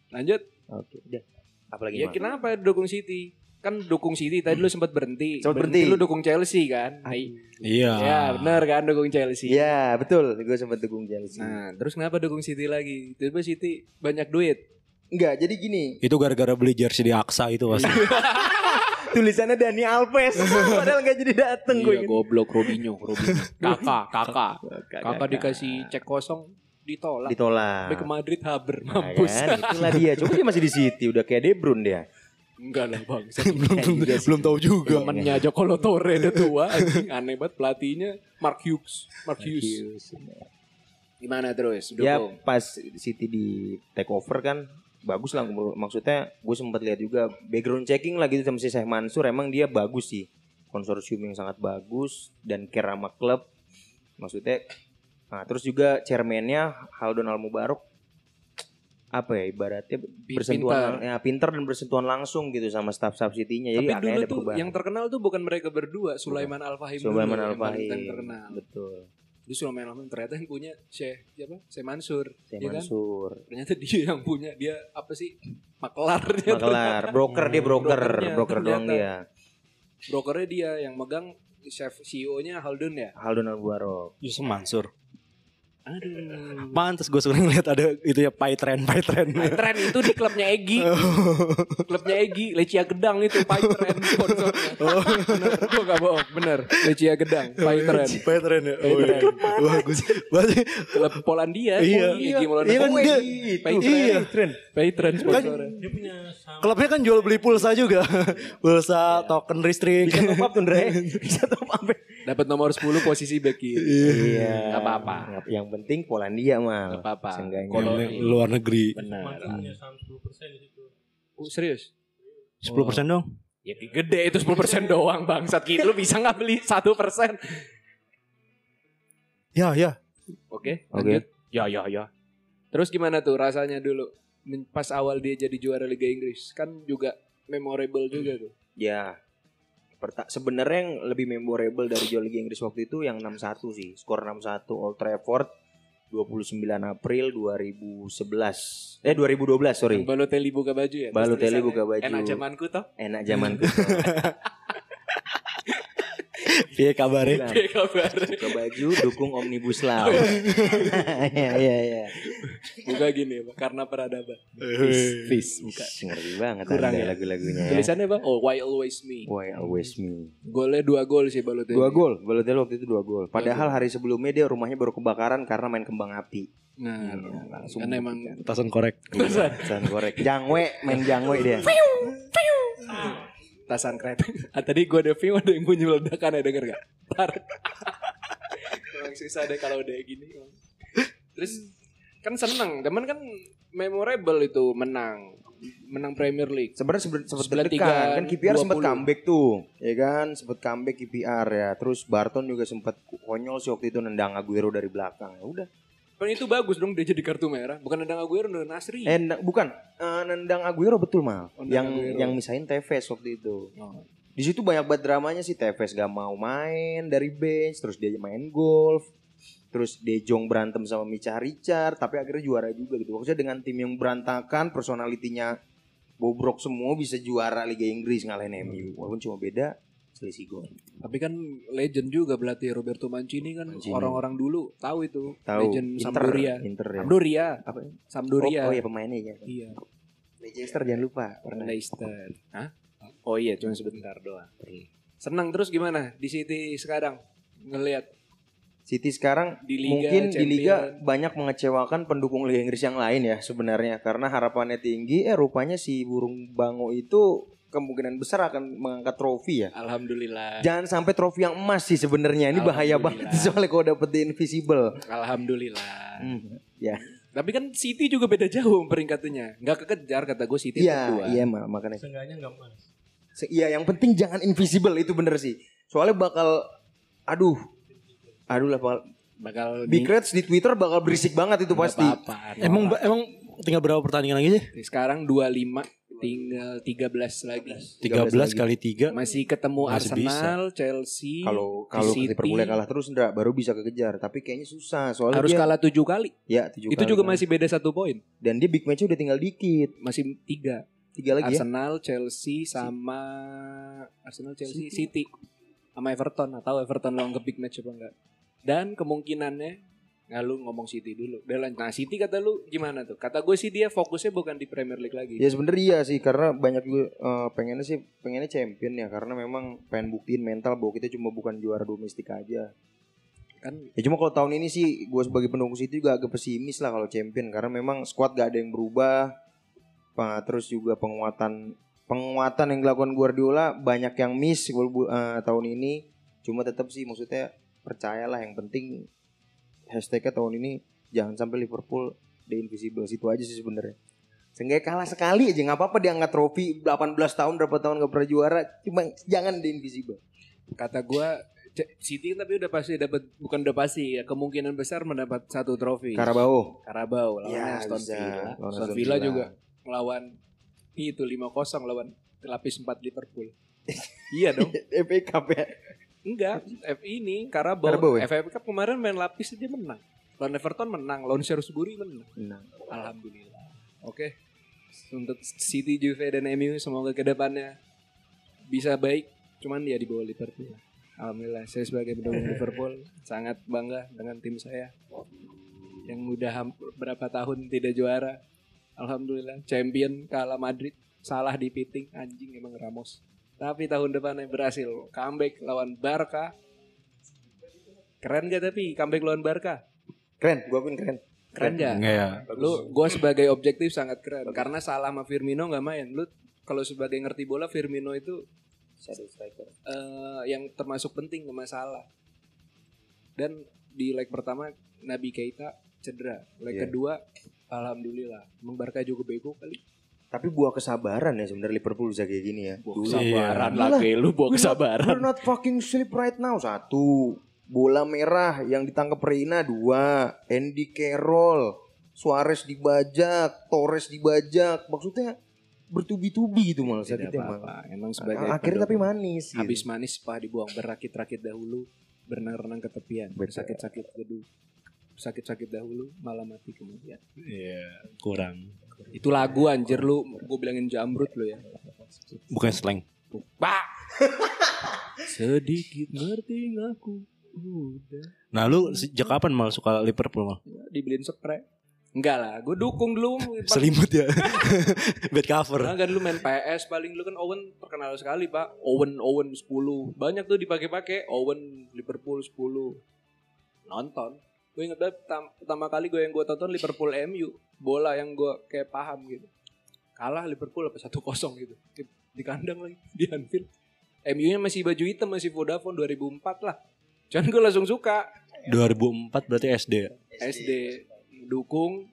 Speaker 2: Lanjut.
Speaker 3: Oke, udah. Apalagi
Speaker 2: Ya
Speaker 3: Mal?
Speaker 2: kenapa dukung City? Kan dukung City tadi lu sempat berhenti.
Speaker 3: Sempat berhenti. Ah.
Speaker 2: Lu dukung Chelsea kan? Nah, i-
Speaker 4: Iya.
Speaker 2: Ya bener kan dukung Chelsea.
Speaker 3: Iya, betul. Gue sempat dukung Chelsea.
Speaker 2: Nah, terus kenapa dukung City lagi? Tiba City banyak duit.
Speaker 3: Enggak, jadi gini.
Speaker 4: Itu gara-gara beli jersey di Aksa itu pasti.
Speaker 3: Tulisannya Dani Alves. [laughs] Padahal gak jadi dateng gue.
Speaker 2: Iya, goblok Robinho, Robinho. kakak, kakak. Kakak dikasih cek kosong ditolak. Sampai
Speaker 3: ditolak.
Speaker 2: ke Madrid haber
Speaker 3: Nah,
Speaker 2: mampus.
Speaker 3: kan, [laughs] itulah dia. Coba dia masih di City, udah kayak De Bruyne dia.
Speaker 2: [laughs] Enggak lah Bang.
Speaker 4: [laughs] belum
Speaker 3: juga sih.
Speaker 4: belum tahu juga.
Speaker 3: Iya, kan?
Speaker 2: Temennya Joko Lotore udah tua anjing. aneh banget pelatihnya Mark Hughes. Mark Hughes. Gimana terus?
Speaker 3: Ya
Speaker 2: Dukung.
Speaker 3: pas City di take over kan bagus lah maksudnya gue sempat lihat juga background checking lah gitu sama si Syekh Mansur emang dia bagus sih konsorsium yang sangat bagus dan care sama klub maksudnya nah, terus juga chairmannya Haldon Almubarok apa ya ibaratnya
Speaker 2: Pi-
Speaker 3: bersentuhan ya pinter dan bersentuhan langsung gitu sama staff-staff City-nya jadi
Speaker 2: Tapi
Speaker 3: aneh
Speaker 2: dulu
Speaker 3: ada
Speaker 2: tuh
Speaker 3: perubahan.
Speaker 2: yang terkenal tuh bukan mereka berdua, Sulaiman Al-Fahim dulu ya,
Speaker 3: Sulaiman
Speaker 2: yang paling
Speaker 3: Al-Fahim.
Speaker 2: terkenal.
Speaker 3: Betul.
Speaker 2: Jadi Sulaiman Al-Fahim ternyata yang punya Syekh siapa? Syekh Mansur.
Speaker 3: Syekh
Speaker 2: Iya kan?
Speaker 3: Mansur.
Speaker 2: Ternyata dia yang punya dia apa sih? Makelarnya.
Speaker 3: Makelar, broker dia broker,
Speaker 2: Brokernya,
Speaker 3: broker doang
Speaker 2: ternyata.
Speaker 3: dia.
Speaker 2: brokernya dia yang megang chef CEO-nya Haldun ya.
Speaker 3: Haldon Albuaro.
Speaker 4: Yusuf Mansur.
Speaker 2: Aduh.
Speaker 4: Pantes gue sering lihat ada itu ya pie trend, pie trend.
Speaker 2: Tren itu di klubnya Egi.
Speaker 3: [laughs]
Speaker 2: klubnya Egi, Lecia Gedang itu Pai Tren sponsornya.
Speaker 4: Oh.
Speaker 2: Bener, gua gak bohong, bener. Lecia Gedang, Pai Tren.
Speaker 4: Pie trend ya. Oh, iya. Bagus. Bagus.
Speaker 2: Klub Polandia,
Speaker 4: Iya.
Speaker 2: Egi Maulana.
Speaker 4: Iya kan
Speaker 2: Oh,
Speaker 4: dia.
Speaker 2: Egi, Pai
Speaker 4: Iya.
Speaker 2: Tren. Pai Tren sponsornya.
Speaker 5: Dia punya sama
Speaker 4: Klubnya kan jual beli pulsa [laughs] juga. Pulsa token listrik. [laughs]
Speaker 3: Bisa top up tuh Ndre. Bisa top up.
Speaker 2: Dapat nomor 10 posisi back kiri. [laughs]
Speaker 3: Iya.
Speaker 2: Gak apa-apa.
Speaker 3: Yang- Yang penting Polandia
Speaker 2: Gak
Speaker 3: mal.
Speaker 2: apa-apa.
Speaker 3: Seenggaknya.
Speaker 2: Kalau-
Speaker 4: luar negeri.
Speaker 3: Benar.
Speaker 5: Mancun punya saham 10% di situ.
Speaker 2: Oh, serius?
Speaker 4: 10% dong.
Speaker 2: Ya gede itu 10% doang bangsat gitu. Lu bisa gak beli 1%?
Speaker 4: Ya, ya.
Speaker 2: Oke,
Speaker 3: Oke.
Speaker 2: lanjut. Ya, ya, ya. Terus gimana tuh rasanya dulu men- pas awal dia jadi juara Liga Inggris? Kan juga memorable juga tuh.
Speaker 3: Ya. Perta- Sebenarnya yang lebih memorable dari juara Liga Inggris waktu itu yang 6-1 sih. Skor 6-1 Old Trafford 29 April 2011. Eh 2012, sorry.
Speaker 2: Yang Balotelli buka baju ya.
Speaker 3: Balotelli
Speaker 2: Terus
Speaker 3: buka
Speaker 2: tulisannya,
Speaker 3: baju.
Speaker 2: Enak zamanku toh. [laughs]
Speaker 3: Enak zamanku.
Speaker 4: Iya kabarnya.
Speaker 3: Bilang,
Speaker 2: Kayak kabar.
Speaker 3: Buka baju dukung Omnibus Law. [laughs] Iya, iya, iya.
Speaker 2: Buka gini ya, Pak, karena peradaban.
Speaker 3: Peace, buka. Ngeri banget
Speaker 2: Kurang
Speaker 3: Anda
Speaker 2: ya.
Speaker 3: lagu-lagunya Eh, ya.
Speaker 2: Tulisannya apa? Oh, why always me.
Speaker 3: Why always me?
Speaker 2: Golnya dua gol sih Balotelli.
Speaker 3: Dua gol, Balotelli waktu itu dua gol. Padahal hari sebelumnya dia rumahnya baru kebakaran karena main kembang api.
Speaker 2: Nah,
Speaker 3: Iya, langsung
Speaker 2: karena emang
Speaker 4: Tasan korek.
Speaker 3: Iya,
Speaker 2: Tasan.
Speaker 3: Jangan korek. Jangwe, main jangwe dia.
Speaker 2: tasan kereta. [laughs] Ah, tadi gue ada view ada yang bunyi ledakan ya denger gak? Tar. [laughs] Emang susah deh kalau udah gini. Terus kan seneng, teman kan memorable itu menang, menang Premier League.
Speaker 3: Sebenarnya sempet,
Speaker 2: 93,
Speaker 3: sempet deg-degan. kan KPR sempat
Speaker 2: 20.
Speaker 3: comeback tuh, ya kan? Sempat comeback KPR ya. Terus Barton juga sempat konyol sih waktu itu nendang Aguero dari belakang. Ya udah.
Speaker 2: Kan itu bagus dong dia jadi kartu merah, bukan nendang Aguero nendang Nasri.
Speaker 3: Eh, nendang- bukan Eh, nendang Aguero betul mal.
Speaker 2: Iya. Oh, nendang
Speaker 3: yang
Speaker 2: Aguero.
Speaker 3: yang misahin Tevez waktu itu.
Speaker 2: Oh.
Speaker 3: Di situ banyak banget dramanya sih Tevez gak mau main dari bench, terus dia main golf, terus Dejong berantem sama Micha Richard, tapi akhirnya juara juga gitu. Maksudnya dengan tim yang berantakan, personalitinya bobrok semua bisa juara Liga Inggris ngalahin
Speaker 2: Hmm.
Speaker 3: MU. Walaupun cuma beda selisih gol.
Speaker 2: Tapi kan legend juga berarti Roberto Mancini kan
Speaker 3: Mancini.
Speaker 2: orang-orang dulu tahu itu
Speaker 3: Tahu
Speaker 2: legend
Speaker 3: Inter,
Speaker 2: Sampdoria.
Speaker 3: Inter ya.
Speaker 2: Sampdoria,
Speaker 3: Apa? ya?
Speaker 2: Sampdoria.
Speaker 3: Oh, oh ya pemainnya ya.
Speaker 2: Iya,
Speaker 3: Leicester jangan lupa. Pernah.
Speaker 2: Leicester. Hah? Oh iya, cuma sebentar doang. Senang terus gimana di City sekarang ngelihat
Speaker 3: City sekarang
Speaker 2: Di Liga,
Speaker 3: mungkin di liga
Speaker 2: Champion.
Speaker 3: banyak mengecewakan pendukung Liga Inggris yang lain ya sebenarnya karena harapannya tinggi eh rupanya si burung bango itu kemungkinan besar akan mengangkat trofi ya.
Speaker 2: Alhamdulillah.
Speaker 3: Jangan sampai trofi yang emas sih sebenarnya. Ini bahaya banget
Speaker 2: Alhamdulillah.
Speaker 3: soalnya kalau dapet The Invisible.
Speaker 2: Alhamdulillah.
Speaker 3: Hmm, Ya,
Speaker 2: Tapi kan City juga beda jauh peringkatnya. Nggak kekejar kata gue City
Speaker 3: iya,
Speaker 2: kedua.
Speaker 3: iya ma- makanya.
Speaker 5: Seenggaknya nggak malas.
Speaker 3: Se- Iya, yang penting jangan invisible itu bener sih. Soalnya bakal, aduh, aduh lah, bakal-
Speaker 2: Bakal
Speaker 3: Big Reds di Twitter bakal berisik banget itu pasti.
Speaker 2: apa
Speaker 4: Emang emang tinggal berapa pertandingan lagi sih?
Speaker 2: sekarang 25 tinggal 13 lagi.
Speaker 3: 13 lagi.
Speaker 4: 13 kali 3
Speaker 2: Masih ketemu
Speaker 4: Masih
Speaker 2: Arsenal, Chelsea. Iya, di
Speaker 3: Kalau kalau
Speaker 2: City.
Speaker 3: Liverpool kalah terus Ndra baru bisa kekejar, tapi kayaknya susah soalnya
Speaker 2: harus
Speaker 3: dia-
Speaker 2: kalah 7 kali.
Speaker 3: Ya, tujuh
Speaker 2: Itu
Speaker 3: kali
Speaker 2: juga
Speaker 3: kan.
Speaker 2: masih beda satu poin.
Speaker 3: Dan dia big match udah tinggal dikit.
Speaker 2: Masih 3.
Speaker 3: Tiga lagi ya.
Speaker 2: Arsenal, Chelsea sama Arsenal, Chelsea, City. Sama Everton atau Everton lawan ke big match apa enggak. Dan kemungkinannya Nah lu ngomong City dulu Udah lanjut. Nah City kata lu gimana tuh Kata gue sih dia fokusnya bukan di Premier League lagi
Speaker 3: Ya sebenarnya iya sih karena banyak gue eh, pengennya sih pengennya champion ya karena memang pengen buktiin mental bahwa kita cuma bukan juara domestik aja.
Speaker 2: Kan
Speaker 3: Ya cuma kalau tahun ini sih gue sebagai pendukung City juga agak pesimis lah kalau champion karena memang squad gak ada yang berubah. Pa- Terus juga penguatan penguatan yang dilakukan Guardiola banyak yang miss gua- bu- eh, tahun ini. Cuma tetap sih maksudnya percayalah yang penting hashtagnya tahun ini jangan sampai Liverpool the invisible situ aja sih sebenarnya. Seenggaknya kalah sekali aja nggak apa-apa diangkat trofi 18 tahun berapa tahun nggak pernah juara cuma jangan the invisible.
Speaker 2: kata gua C- City kan tapi udah pasti dapat bukan udah pasti ya kemungkinan besar mendapat satu trofi.
Speaker 3: Karabao.
Speaker 2: Karabau lawan Aston
Speaker 3: Ya, bisa.
Speaker 2: Villa.
Speaker 3: Lawan
Speaker 2: Aston
Speaker 3: Aston
Speaker 2: Villa juga melawan itu 5-0 lawan lapis 4 Liverpool. iya dong.
Speaker 3: FA Cup ya.
Speaker 2: Enggak, F ini Karabau.
Speaker 3: Karabau ya?
Speaker 2: FA Cup kemarin main lapis aja menang. Lawan Everton menang, lawan Shrewsbury menang.
Speaker 3: Nah,
Speaker 2: Alhamdulillah. Oke. Untuk City, Juve dan MU semoga kedepannya bisa baik. Cuman ya di bawah Liverpool. Alhamdulillah saya sebagai pendukung Liverpool sangat bangga dengan tim saya yang udah hamp- berapa tahun tidak juara. Alhamdulillah champion kalah Madrid salah di pitting anjing emang Ramos. Tapi tahun depannya berhasil comeback lawan Barca. Keren gak tapi comeback lawan Barca?
Speaker 3: keren, gua akuin keren.
Speaker 2: Keren gak?
Speaker 4: Enggak ya.
Speaker 2: lu gue sebagai objektif sangat keren karena salah sama Firmino nggak main lu kalau sebagai ngerti bola Firmino itu
Speaker 3: Shadow striker.
Speaker 2: eh, yang termasuk penting ke masalah dan di leg pertama Nabi Keita cedera leg
Speaker 3: Iya.
Speaker 2: kedua alhamdulillah emang Barca juga bego kali
Speaker 3: Tapi buah kesabaran ya sebenarnya Liverpool bisa kayak gini ya. Dulu.
Speaker 4: kesabaran
Speaker 3: lagi,
Speaker 2: lu buat kesabaran
Speaker 3: We're not fucking sleep right now satu. Bola merah yang ditangkap Reina dua. Andy Carroll, Suarez dibajak, Torres dibajak. Maksudnya bertubi-tubi gitu malah
Speaker 2: tidak
Speaker 3: sakitnya malah.
Speaker 2: apa-apa emang sebagai
Speaker 3: Akhirnya tapi
Speaker 2: pendukung.
Speaker 3: manis. gitu.
Speaker 2: habis manis paha dibuang berakit-rakit dahulu berenang-renang ke tepian
Speaker 3: Betul.
Speaker 2: sakit-sakit dahulu sakit-sakit dahulu malah mati kemudian
Speaker 4: Iya, kurang.
Speaker 2: Itu lagu anjir lu, gue bilangin jamrut lu ya.
Speaker 4: Bukan slang.
Speaker 2: Sedikit ngerti aku udah
Speaker 4: Nah, lu sejak kapan mal suka Liverpool mal?
Speaker 2: dibeliin spray. Enggak lah, gue dukung dulu.
Speaker 4: Selimut [laughs] ya. Bed cover.
Speaker 2: Nah, kan lu main PS paling lu kan Owen terkenal sekali, Pak. Owen Owen 10. Banyak tuh dipakai-pakai Owen Liverpool 10. Nonton. Gue inget banget tam- pertama kali gue yang gue tonton Liverpool MU, bola yang gue kayak paham gitu. Kalah Liverpool apa 1-0 gitu. Di, di kandang lagi di Anfield. MU-nya masih baju hitam, masih Vodafone 2004 lah. Cuman gue langsung suka
Speaker 4: 2004 berarti SD. ya?
Speaker 2: SD dukung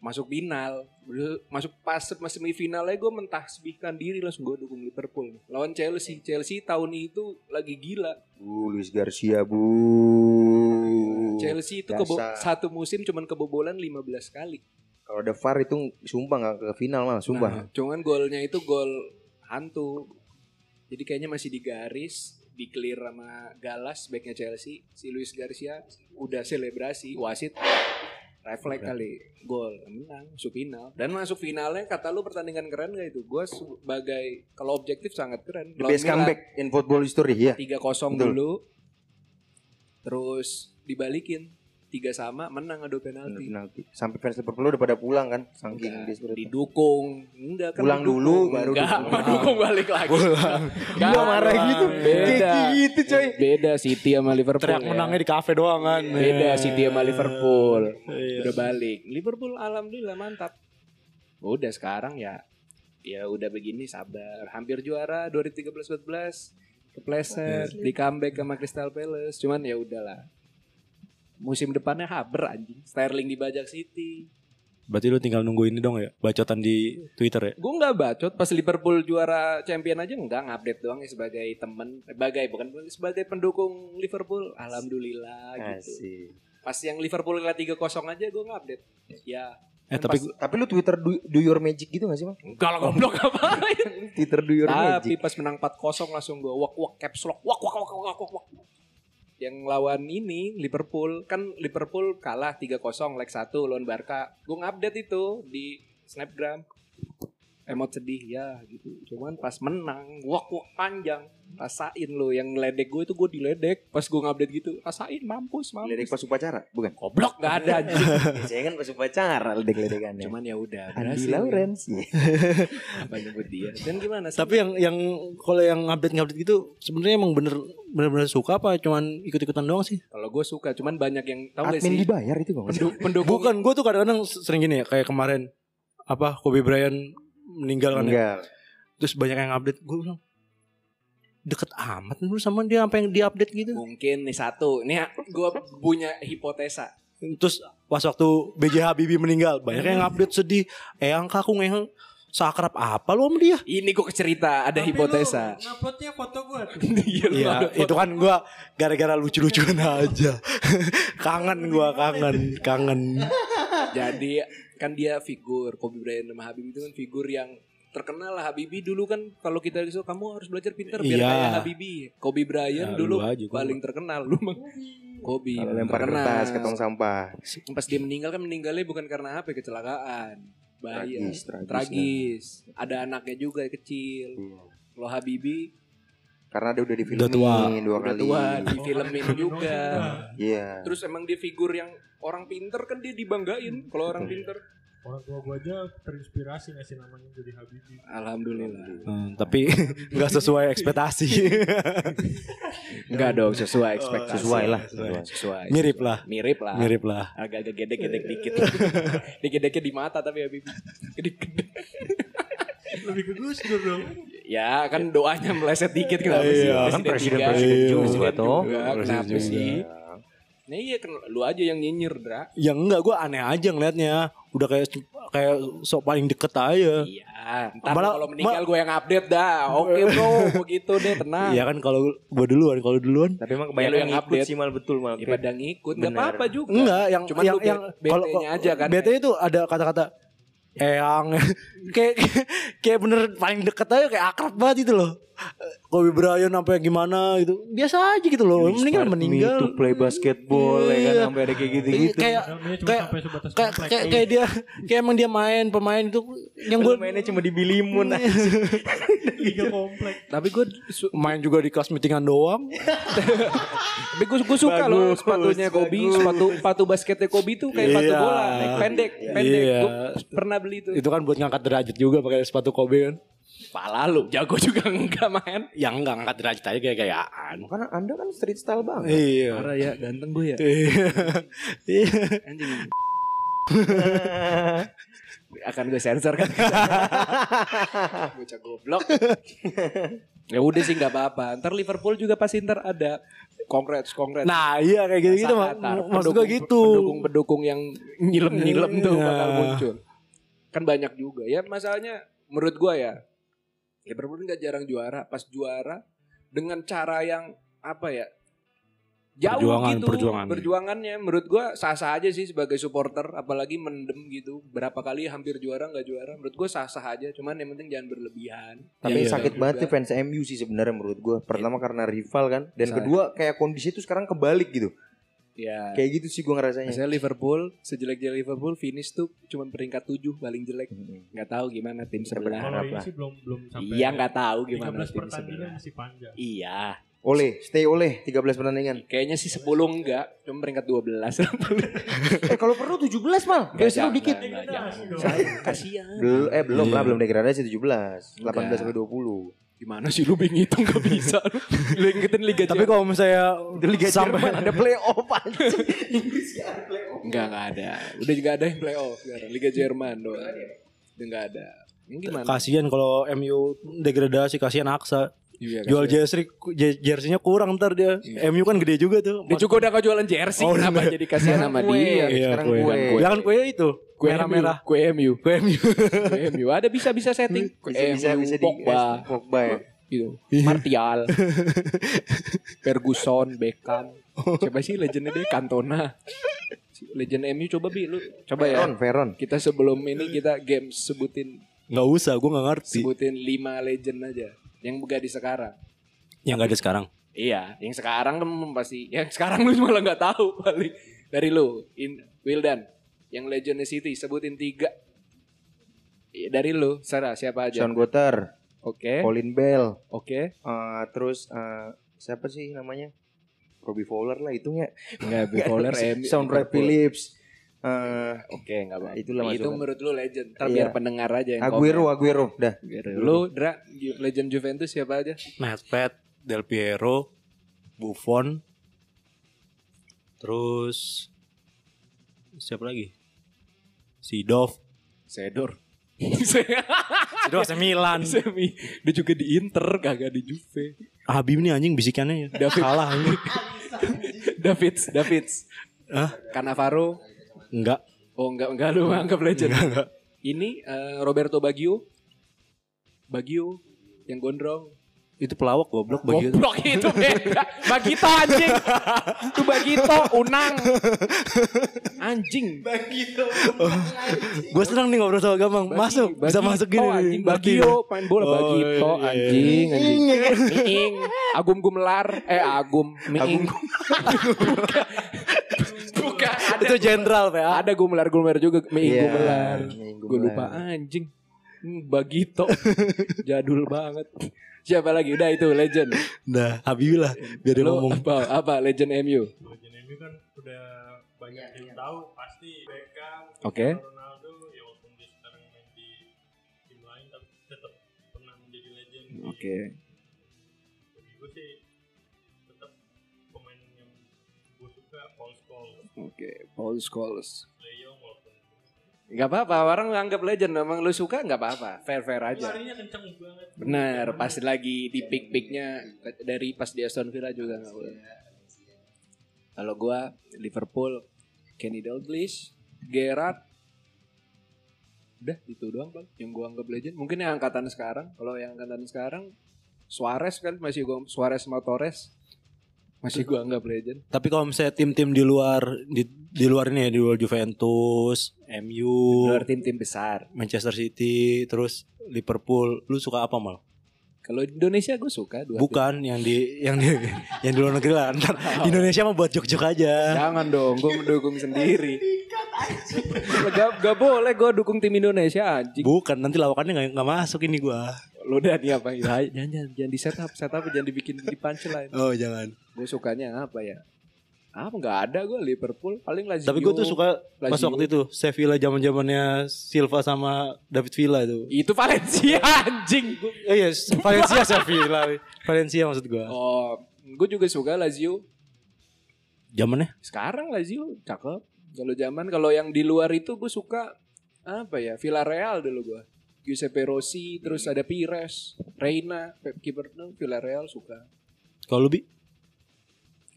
Speaker 2: masuk final Udah masuk pas pas semifinal aja gue mentasbihkan diri langsung gue dukung Liverpool lawan Chelsea Chelsea tahun itu lagi gila
Speaker 3: Bu, Luis Garcia bu.
Speaker 2: Chelsea itu kebo-
Speaker 3: Uh, Biasa.
Speaker 2: satu musim cuman kebobolan 15 kali
Speaker 3: Kalau ada VAR itu sumpah nggak ke final malah sumpah.
Speaker 2: Nah, cuman golnya itu gol hantu Jadi kayaknya masih digaris, di clear sama Galas backnya Chelsea. Si Luis Garcia udah selebrasi, wasit refleks kali gol menang masuk final dan masuk finalnya kata lu pertandingan keren gak itu gue sebagai kalau objektif sangat keren
Speaker 3: The best comeback in football history ya.
Speaker 2: tiga kosong
Speaker 3: Betul.
Speaker 2: dulu terus dibalikin tiga sama menang adu penalti
Speaker 3: Penalti. Sampai fans Liverpool udah pada pulang kan, saking
Speaker 2: Enggak,
Speaker 3: desperate.
Speaker 2: didukung enggak kan
Speaker 3: Pulang
Speaker 2: didukung.
Speaker 3: dulu, baru
Speaker 2: enggak [laughs]
Speaker 3: didukung.
Speaker 2: mau dukung balik lagi Enggak,
Speaker 4: Gua marah gitu.
Speaker 2: beda
Speaker 4: Kayak gitu coy.
Speaker 2: beda City sama Liverpool
Speaker 4: [laughs] Teriak
Speaker 2: ya.
Speaker 4: menangnya di kafe doang kan.
Speaker 2: beda City sama Liverpool
Speaker 4: Iya.
Speaker 2: udah balik Liverpool alhamdulillah mantap udah sekarang ya ya udah begini sabar hampir juara 2013 14 kepleset di comeback sama Crystal Palace cuman ya udahlah musim depannya haber anjing Sterling dibajak City
Speaker 4: Berarti lu tinggal nunggu ini dong ya, bacotan di Twitter ya.
Speaker 2: Gue nggak bacot pas Liverpool juara champion aja nggak ngupdate doang ya sebagai temen eh, sebagai bukan sebagai pendukung Liverpool alhamdulillah gitu.
Speaker 3: Asik.
Speaker 2: Pas yang Liverpool kalah 3-0 aja gue ngupdate. Ya
Speaker 4: Eh
Speaker 3: Tapi,
Speaker 4: tapi gua-
Speaker 3: tapi lu Twitter do, do your magic gitu gak sih bang?
Speaker 2: enggak lah goblok ngapain.
Speaker 3: Twitter do your
Speaker 2: Tapi
Speaker 3: magic.
Speaker 2: pas menang 4-0 langsung gue wak wak caps lock wak wak wak wak wak wak. Yang lawan ini Liverpool kan Liverpool kalah 3-0 leg 1 lawan Barca. Gue ngupdate itu di Snapgram. Emot sedih ya gitu. Cuman pas menang wak wak panjang. Rasain lo yang ngeledek gue itu gue diledek. Pas gue ngupdate gitu rasain mampus mampus.
Speaker 3: Ledek pas upacara,
Speaker 2: [laughs]
Speaker 3: bukan?
Speaker 2: Goblok gak ada anjing.
Speaker 3: Saya kan pas upacara ledek-ledekannya.
Speaker 2: [laughs] Cuman ya udah
Speaker 3: Andi
Speaker 2: berhasil.
Speaker 3: Lawrence.
Speaker 2: Apa nyebut dia. Dan gimana? Sam?
Speaker 4: tapi yang yang kalau yang update update gitu sebenarnya emang bener bener bener suka apa cuman ikut ikutan doang sih?
Speaker 2: Kalau gue suka cuman banyak yang
Speaker 3: [laughs]
Speaker 2: tahu gak
Speaker 3: Admin
Speaker 2: sih?
Speaker 3: dibayar itu bang.
Speaker 2: Pendu- pendukung
Speaker 4: Bukan, gue tuh kadang-kadang sering gini ya kayak kemarin apa Kobe Bryant meninggal kan ya.
Speaker 3: Enggak.
Speaker 4: Terus banyak yang update gue bilang deket amat lu sama dia apa yang di update gitu.
Speaker 2: Mungkin nih satu. Nih gue punya hipotesa.
Speaker 4: Terus pas waktu BJ Habibie meninggal banyak yang update sedih. Eh angka aku ngeheng seakrab apa lu sama dia?
Speaker 2: Ini gue cerita ada hipotesa.
Speaker 6: Nguploadnya foto gue.
Speaker 2: [laughs] Iya, lu ada [laughs]
Speaker 4: Iya, itu
Speaker 2: foto.
Speaker 4: kan gua gara-gara lucu-lucuan aja. [laughs] kangen gua, kangen, kangen.
Speaker 2: Jadi kan dia figur Kobe Bryant sama Habibie itu kan figur yang terkenal lah Habibie dulu kan kalau kita disuruh kamu harus belajar pinter biar
Speaker 4: Iya.
Speaker 2: kayak Habibie. Kobe Bryant Iya,
Speaker 4: Ya,
Speaker 2: dulu
Speaker 4: lu aja, gua
Speaker 2: paling terkenal lu mah. Kobe
Speaker 3: Kalau lempar
Speaker 2: terkenal.
Speaker 3: kertas ke tong sampah.
Speaker 2: Pas dia meninggal kan meninggalnya bukan karena apa kecelakaan. Bahaya.
Speaker 3: Tragis, tragis.
Speaker 2: Tragis. Ada anaknya juga yang kecil.
Speaker 3: Iya.
Speaker 2: Kalau Habibie
Speaker 3: Karena dia udah difilmin
Speaker 4: Udah tua.
Speaker 3: dua
Speaker 2: udah
Speaker 3: kali.
Speaker 2: tua, difilmin juga.
Speaker 3: Iya.
Speaker 2: Terus emang dia figur yang orang pinter kan dia dibanggain kalau orang pinter.
Speaker 5: Orang tua gue aja terinspirasi ngasih namanya jadi Habibie.
Speaker 2: Alhamdulillah.
Speaker 4: Hmm, tapi [laughs] nggak sesuai [laughs] ekspektasi.
Speaker 2: Enggak dong sesuai ekspektasi.
Speaker 3: Sesuai lah.
Speaker 2: Sesuai. sesuai.
Speaker 4: Mirip lah.
Speaker 2: Mirip lah.
Speaker 4: Mirip lah.
Speaker 2: Agak-agak gedek-gedek dikit. Digedeknya di mata tapi Habib. Gede-gede.
Speaker 6: Lebih ke Gus Dur dong.
Speaker 2: Ya kan doanya meleset dikit kenapa
Speaker 4: Iya,
Speaker 2: sih?
Speaker 4: kan
Speaker 2: juga.
Speaker 4: presiden-presiden juga,
Speaker 2: Presiden
Speaker 3: toh.
Speaker 2: juga.
Speaker 4: Presiden
Speaker 2: Kenapa
Speaker 4: juga.
Speaker 2: sih? Nah iya kan lu aja yang nyinyir, Dra.
Speaker 4: Ya enggak, gua aneh aja ngelihatnya. Udah kayak kayak sok paling deket aja.
Speaker 2: Iya, ntar
Speaker 4: Malah-
Speaker 2: kalau meninggal gue yang update dah. Oke
Speaker 4: [laughs]
Speaker 2: bro, begitu deh tenang.
Speaker 4: Iya kan kalau gua duluan, kalau duluan.
Speaker 3: Tapi
Speaker 2: Ya, lu yang
Speaker 3: emang kebanyakan ngikut
Speaker 2: update.
Speaker 3: sih mal betul mal.
Speaker 2: Ya pada ngikut, nggak
Speaker 3: Benar.
Speaker 2: apa-apa juga.
Speaker 4: Enggak, yang
Speaker 2: Cuman
Speaker 4: yang
Speaker 2: lu
Speaker 4: yang
Speaker 2: bete- betenya aja kan.
Speaker 4: BT itu ada kata-kata Eyang [laughs] kayak kayak bener paling deket aja kayak akrab banget gitu loh. Kobe Bryant sampai gimana gitu. Biasa aja gitu loh. Meninggal meninggal.
Speaker 3: Itu play basketball ya kan
Speaker 4: Iya.
Speaker 3: sampai ada kayak gitu-gitu.
Speaker 4: Kayak
Speaker 5: Namanya cuma
Speaker 4: kayak
Speaker 5: sampai sebatas
Speaker 4: kayak
Speaker 5: komplek.
Speaker 4: kayak, kayak dia kayak emang dia main pemain itu yang gue
Speaker 3: Gue mainnya cuma di Bilimun.
Speaker 5: Liga komplek.
Speaker 2: Tapi gue su-
Speaker 4: main juga di kelas meetingan doang.
Speaker 2: tapi gue gue suka loh
Speaker 3: Bagus,
Speaker 2: sepatunya Kobe,
Speaker 3: bagus.
Speaker 2: sepatu sepatu basketnya Kobe itu kayak
Speaker 4: Iya.
Speaker 2: sepatu bola, pendek, pendek.
Speaker 4: Iya.
Speaker 2: Gue pernah beli itu.
Speaker 4: itu kan buat ngangkat derajat juga pakai sepatu Kobe kan.
Speaker 2: Pala lu, jago juga [laughs] enggak main.
Speaker 4: Yang enggak ngangkat derajat aja kayak gayaan.
Speaker 3: [laughs] Karena Anda kan street style banget.
Speaker 4: Iya.
Speaker 2: Parah ya, ganteng gue ya.
Speaker 4: Iya.
Speaker 2: Anjing. [laughs] akan gue sensor kan [laughs] bocah goblok ya udah sih nggak apa-apa ntar Liverpool juga pasti ntar ada congrats congrats
Speaker 4: Nah iya kayak gitu-gitu
Speaker 2: Saat
Speaker 4: mak
Speaker 2: tar
Speaker 4: maksud gue
Speaker 2: pendukung-
Speaker 4: gitu.
Speaker 2: Pendukung-pendukung yang nyilem-nyilem tuh
Speaker 4: Iya.
Speaker 2: bakal muncul. Kan banyak juga ya masalahnya menurut gua ya. Liverpool nggak jarang juara, pas juara dengan cara yang apa ya? jauh
Speaker 4: Perjuangan,
Speaker 2: gitu
Speaker 4: perjuangan.
Speaker 2: perjuangannya menurut gua sah-sah aja sih sebagai supporter apalagi mendem gitu berapa kali hampir juara nggak juara menurut gua sah-sah aja cuman yang penting jangan berlebihan Iya,
Speaker 3: Tapi
Speaker 2: Jangan
Speaker 3: sakit
Speaker 2: juga.
Speaker 3: banget sih fans MU sih sebenarnya menurut gue. Pertama karena rival kan, dan
Speaker 2: Misalnya.
Speaker 3: kedua kayak kondisi itu sekarang kebalik gitu.
Speaker 2: ya
Speaker 3: Kayak gitu sih gue ngerasanya.
Speaker 2: Saya Liverpool sejelek-jelek Liverpool finish tuh cuman peringkat 7 paling jelek
Speaker 3: Mm-mm.
Speaker 2: nggak tahu gimana tim
Speaker 3: Bisa
Speaker 2: sebelah
Speaker 3: berharap.
Speaker 5: Kalau ini
Speaker 3: lah.
Speaker 5: sih belum belum sampai.
Speaker 2: iya nggak tahu gimana
Speaker 5: 13
Speaker 2: tim sebelah
Speaker 5: pertandingan masih panjang.
Speaker 2: iya
Speaker 3: Oleh, stay oleh 13 pertandingan.
Speaker 2: Kayaknya sih 10 enggak, cuma peringkat
Speaker 4: [laughs]
Speaker 2: 12.
Speaker 3: [laughs] eh kalau perlu 17 mal.
Speaker 2: Enggak,
Speaker 3: Biasanya lu
Speaker 2: jangan,
Speaker 3: dikit.
Speaker 2: enggak,
Speaker 5: Degradasi
Speaker 2: jangan.
Speaker 5: dong.
Speaker 2: Saya kasihan.
Speaker 3: Bel eh belum
Speaker 1: Iya.
Speaker 3: lah, belum degradasi 17. 18
Speaker 2: Enggak.
Speaker 3: sampai 20.
Speaker 2: Gimana sih lu bingung itu enggak
Speaker 4: [laughs]
Speaker 2: bisa. lu. Lu ingetin Liga
Speaker 4: Iya, Tapi kalau misalnya sampai
Speaker 3: Jerman ada playoff anjing. Inggris nggak ada playoff.
Speaker 2: enggak enggak ada. Udah juga ada yang playoff sekarang Liga Jerman doang.
Speaker 5: ya?
Speaker 2: Udah enggak ada. Ini gimana?
Speaker 4: kasihan kalau MU degradasi kasihan Aksa
Speaker 2: Iya,
Speaker 4: jual
Speaker 2: kasihan.
Speaker 4: jersey je- jersinya kurang ntar dia
Speaker 2: Iya.
Speaker 4: MU kan gede juga tuh
Speaker 2: Dia juga udah kau jualan jersey
Speaker 4: Oh,
Speaker 2: kenapa
Speaker 4: bener.
Speaker 2: jadi kasihan sama
Speaker 3: Kue.
Speaker 2: dia?
Speaker 4: Iya,
Speaker 3: sekarang
Speaker 4: kue.
Speaker 3: kue.
Speaker 4: Ya kan kue itu
Speaker 2: Kue
Speaker 4: merah
Speaker 2: MU,
Speaker 4: [laughs] merah
Speaker 2: Kue MU.
Speaker 4: kue MU
Speaker 2: Kue MU. gitu. Ada bisa-bisa setting. Kue
Speaker 3: Bisa bisa
Speaker 2: MU,
Speaker 3: bisa di
Speaker 2: Pogba.
Speaker 3: Pogba ya.
Speaker 2: gitu.
Speaker 3: [laughs]
Speaker 2: Martial, Ferguson, Beckham. Coba sih legendnya dia Cantona. Legend MU coba bi lu coba ya.
Speaker 3: Veron, Veron.
Speaker 2: Kita sebelum ini kita game sebutin
Speaker 4: nggak usah gue nggak ngerti
Speaker 2: sebutin 5 legend aja yang gak di sekarang.
Speaker 4: yang nggak ada sekarang
Speaker 2: Iya, yang sekarang kan pasti yang sekarang lu malah nggak tahu paling dari lu in Wildan yang legendnya City sebutin tiga Iya, dari lu Sarah siapa aja
Speaker 3: Sean Gotter,
Speaker 2: oke
Speaker 3: Colin Bell,
Speaker 2: oke
Speaker 3: eh, terus eh, siapa sih namanya? Robbie Fowler lah hitungnya.
Speaker 2: nggak
Speaker 3: [laughs]
Speaker 2: eh, Bipolar M
Speaker 3: Soundtrack Phillips. Eh,
Speaker 2: Oke, nggak apa-apa.
Speaker 3: Nah, itulah
Speaker 2: Itu
Speaker 3: masukan.
Speaker 2: menurut lu legend. Ntar
Speaker 3: Iya.
Speaker 2: biar pendengar aja yang
Speaker 3: Aguero,
Speaker 2: komen.
Speaker 3: Aguero, dah.
Speaker 2: Aguero. Lu Dra, Ju- legend Juventus siapa aja?
Speaker 4: Nedved Del Piero Buffon terus siapa lagi Sidov
Speaker 2: Sedor. [laughs]
Speaker 4: Sidov AC [laughs] Milan
Speaker 2: Semi. Dia juga di Inter, kagak di Juve.
Speaker 4: Habib nih anjing bisikannya ya
Speaker 2: David.
Speaker 4: kalah anjing
Speaker 2: David, David.
Speaker 4: Hah?
Speaker 2: Cannavaro.
Speaker 4: enggak
Speaker 2: Oh, enggak enggak lu anggap legend. Ini eh, Roberto Baggio. Baggio yang gondrong.
Speaker 4: itu pelawak goblok bagi
Speaker 2: Goblok itu beda. Bagito anjing. Itu Bagito unang. Anjing.
Speaker 4: Gue senang nih ngobrol sama Gamang.
Speaker 2: Bagi-
Speaker 4: masuk, bisa
Speaker 2: Bagito,
Speaker 4: masuk gini.
Speaker 2: anjing,
Speaker 4: nih. Ngerti
Speaker 2: Bagio
Speaker 4: nih.
Speaker 2: main bola
Speaker 4: Oh,
Speaker 2: Bagito
Speaker 4: iya.
Speaker 2: anjing anjing. Miing. Agum gumelar eh Agum Miing. Bukan. Bukan ada
Speaker 4: Itu jenderal, PA.
Speaker 2: ada gumelar gumelar juga Miing
Speaker 3: Iya,
Speaker 2: gumelar.
Speaker 3: Miing
Speaker 2: Gue
Speaker 3: gumelar.
Speaker 2: lupa anjing. Hmm, Bagito. Jadul banget. Siapa lagi? Udah itu legend.
Speaker 4: Nah, Habibie lah. Biar dia
Speaker 2: Lu
Speaker 4: ngomong.
Speaker 2: apa, apa legend MU?
Speaker 5: Legend MU kan udah banyak yang tahu pasti Beckham,
Speaker 2: Oke.
Speaker 5: Cristiano Ronaldo, ya walaupun dia sekarang main di tim lain tapi tetap pernah menjadi legend. di- Bagi gue sih tetap pemain yang gue suka Paul Scholes,
Speaker 2: Oke, Paul Scholes.
Speaker 5: Leo walaupun
Speaker 2: Gak apa-apa, orang nganggap legend. Emang lu suka gak apa-apa. Fair-fair aja.
Speaker 5: larinya kencang banget.
Speaker 2: Bener, pas lagi di pick picknya dari pas di Aston Villa juga nggak boleh. Kalau gua Liverpool, Kenny Dalglish, Gerrard, udah itu doang bang yang gua anggap legend. Mungkin yang angkatan sekarang, kalau yang angkatan sekarang Suarez kan masih gua Suarez sama Torres masih gua anggap legend.
Speaker 4: Tapi kalau misalnya tim-tim di luar di, di luar ini ya, di luar Juventus,
Speaker 2: Di
Speaker 4: MU,
Speaker 2: Luar tim-tim besar.
Speaker 4: Manchester City, terus Liverpool, lu suka apa mal?
Speaker 2: Kalau Indonesia gue suka dua tim.
Speaker 4: Bukan yang di [laughs] yang di yang di luar negeri lah. Ntar [laughs] Indonesia mah buat jok-jok aja.
Speaker 2: Jangan dong, gue mendukung sendiri. gak, gak boleh gue dukung tim Indonesia anjing.
Speaker 4: Bukan, nanti lawakannya nggak nggak masuk ini gua.
Speaker 2: Lu udah nih apa? Ya, jangan, jangan, jangan di setup, setup jangan dibikin di punchline.
Speaker 4: Oh jangan.
Speaker 2: Gue sukanya apa ya? Apa nggak ada gue Liverpool paling Lazio.
Speaker 4: Tapi gua tuh suka
Speaker 2: Lazio.
Speaker 4: pas waktu itu Sevilla zaman zamannya Silva sama David Villa itu.
Speaker 2: itu Valencia [laughs] anjing.
Speaker 4: Oh iya, Valencia Sevilla. Valencia maksud gua.
Speaker 2: Oh, gue juga suka Lazio.
Speaker 4: Zamannya?
Speaker 2: Sekarang Lazio cakep. Kalau zaman kalau yang di luar itu gue suka apa ya? Villarreal dulu gue. Giuseppe Rossi, terus ada Pires, Reina, Pep kiper tuh Villarreal suka.
Speaker 4: Kalau lu bi?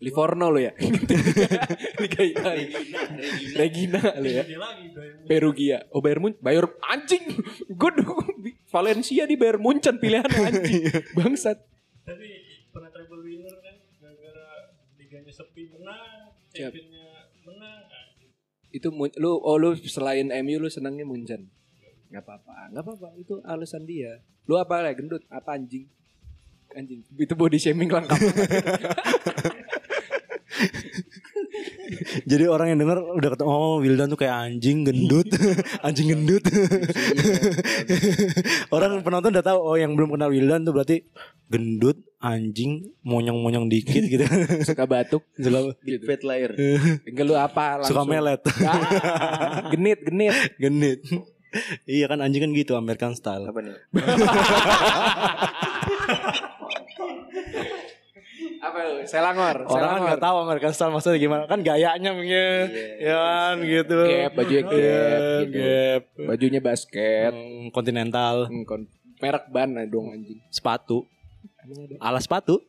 Speaker 2: Livorno lo ya. [laughs] Liga Italia. Regina lo ya.
Speaker 5: Dia lagi Bayern Munchen.
Speaker 2: Perugia. Oh Bayern Munchen. Bayar anjing. Gue dukung di- Valencia di Bayern Munchen pilihan anjing. Bangsat.
Speaker 5: Tapi pernah treble winner kan gara-gara liganya sepi City menang,
Speaker 2: Siap.
Speaker 5: championnya menang. anjing.
Speaker 2: Itu Mun- lu oh lu selain MU lu senangnya Munchen. Gak apa-apa, gak apa-apa. Itu alasan dia. Lu apa lah gendut? Apa anjing? Anjing. Itu body shaming lengkap.
Speaker 4: [laughs] Jadi orang yang denger udah ketemu oh Wildan tuh kayak anjing [laughs] gendut, anjing gendut. iya, orang penonton udah tahu oh yang belum kenal Wildan tuh berarti gendut, anjing, monyong-monyong dikit [laughs] gitu.
Speaker 2: Suka batuk.
Speaker 4: Suka-
Speaker 2: gitu.
Speaker 3: Fat liar.
Speaker 2: Enggak lu apa langsung.
Speaker 4: Suka melet,
Speaker 2: Ah, genit, genit.
Speaker 4: gendut. iya kan anjing kan gitu American style.
Speaker 3: Apa nih?
Speaker 2: Apa lu? Selangor.
Speaker 4: Orang kan nggak tahu American style maksudnya gimana kan gayanya mungkin, ya kan gitu.
Speaker 2: Gap, bajunya gap,
Speaker 4: Gap,
Speaker 2: gitu.
Speaker 4: gap.
Speaker 2: Bajunya basket.
Speaker 4: Hmm, Continental,
Speaker 2: Hmm, kon- merek ban lah dong anjing.
Speaker 4: sepatu,
Speaker 2: Emang ada?
Speaker 4: alas sepatu,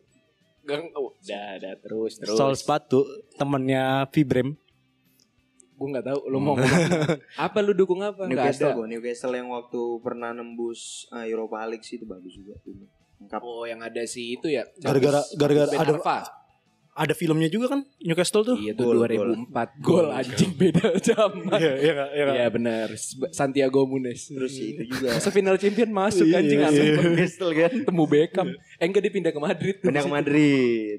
Speaker 2: Gang, oh, dah, dah, terus, terus.
Speaker 4: sol sepatu, temennya Vibrem.
Speaker 2: Gue nggak tahu lu mau ngomong Hmm. [laughs] apa lu dukung apa? Nggak
Speaker 3: Newcastle
Speaker 2: ada.
Speaker 3: gua, Newcastle yang waktu pernah nembus eh, Europa League sih itu bagus juga timnya. Lengkap.
Speaker 2: Oh, yang ada sih itu ya.
Speaker 4: Gara-gara- gara-gara
Speaker 2: Ben
Speaker 4: ada-
Speaker 2: Arfa.
Speaker 4: ada filmnya juga kan Newcastle tuh.
Speaker 2: Iya tuh
Speaker 3: Gol,
Speaker 2: 2004 gol anjing beda zaman.
Speaker 4: Iya, iya, iya.
Speaker 2: Iya benar. Santiago Munes.
Speaker 3: Terus sih itu juga.
Speaker 2: Masa final champion masuk
Speaker 4: Iya,
Speaker 2: anjing
Speaker 4: iya.
Speaker 2: asli [laughs]
Speaker 3: Newcastle kan.
Speaker 2: temu Beckham. Eh enggak dipindah ke Madrid.
Speaker 3: Pindah ke Madrid.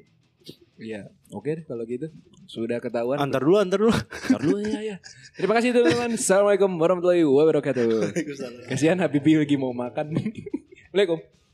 Speaker 2: Iya. Oke deh kalau gitu. Sudah ketahuan.
Speaker 4: Antar dulu, antar dulu.
Speaker 2: Ntar dulu ya, ya. Terima kasih teman-teman. Assalamualaikum warahmatullahi wabarakatuh. Kasihan Habibie lagi mau makan. Waalaikumsalam.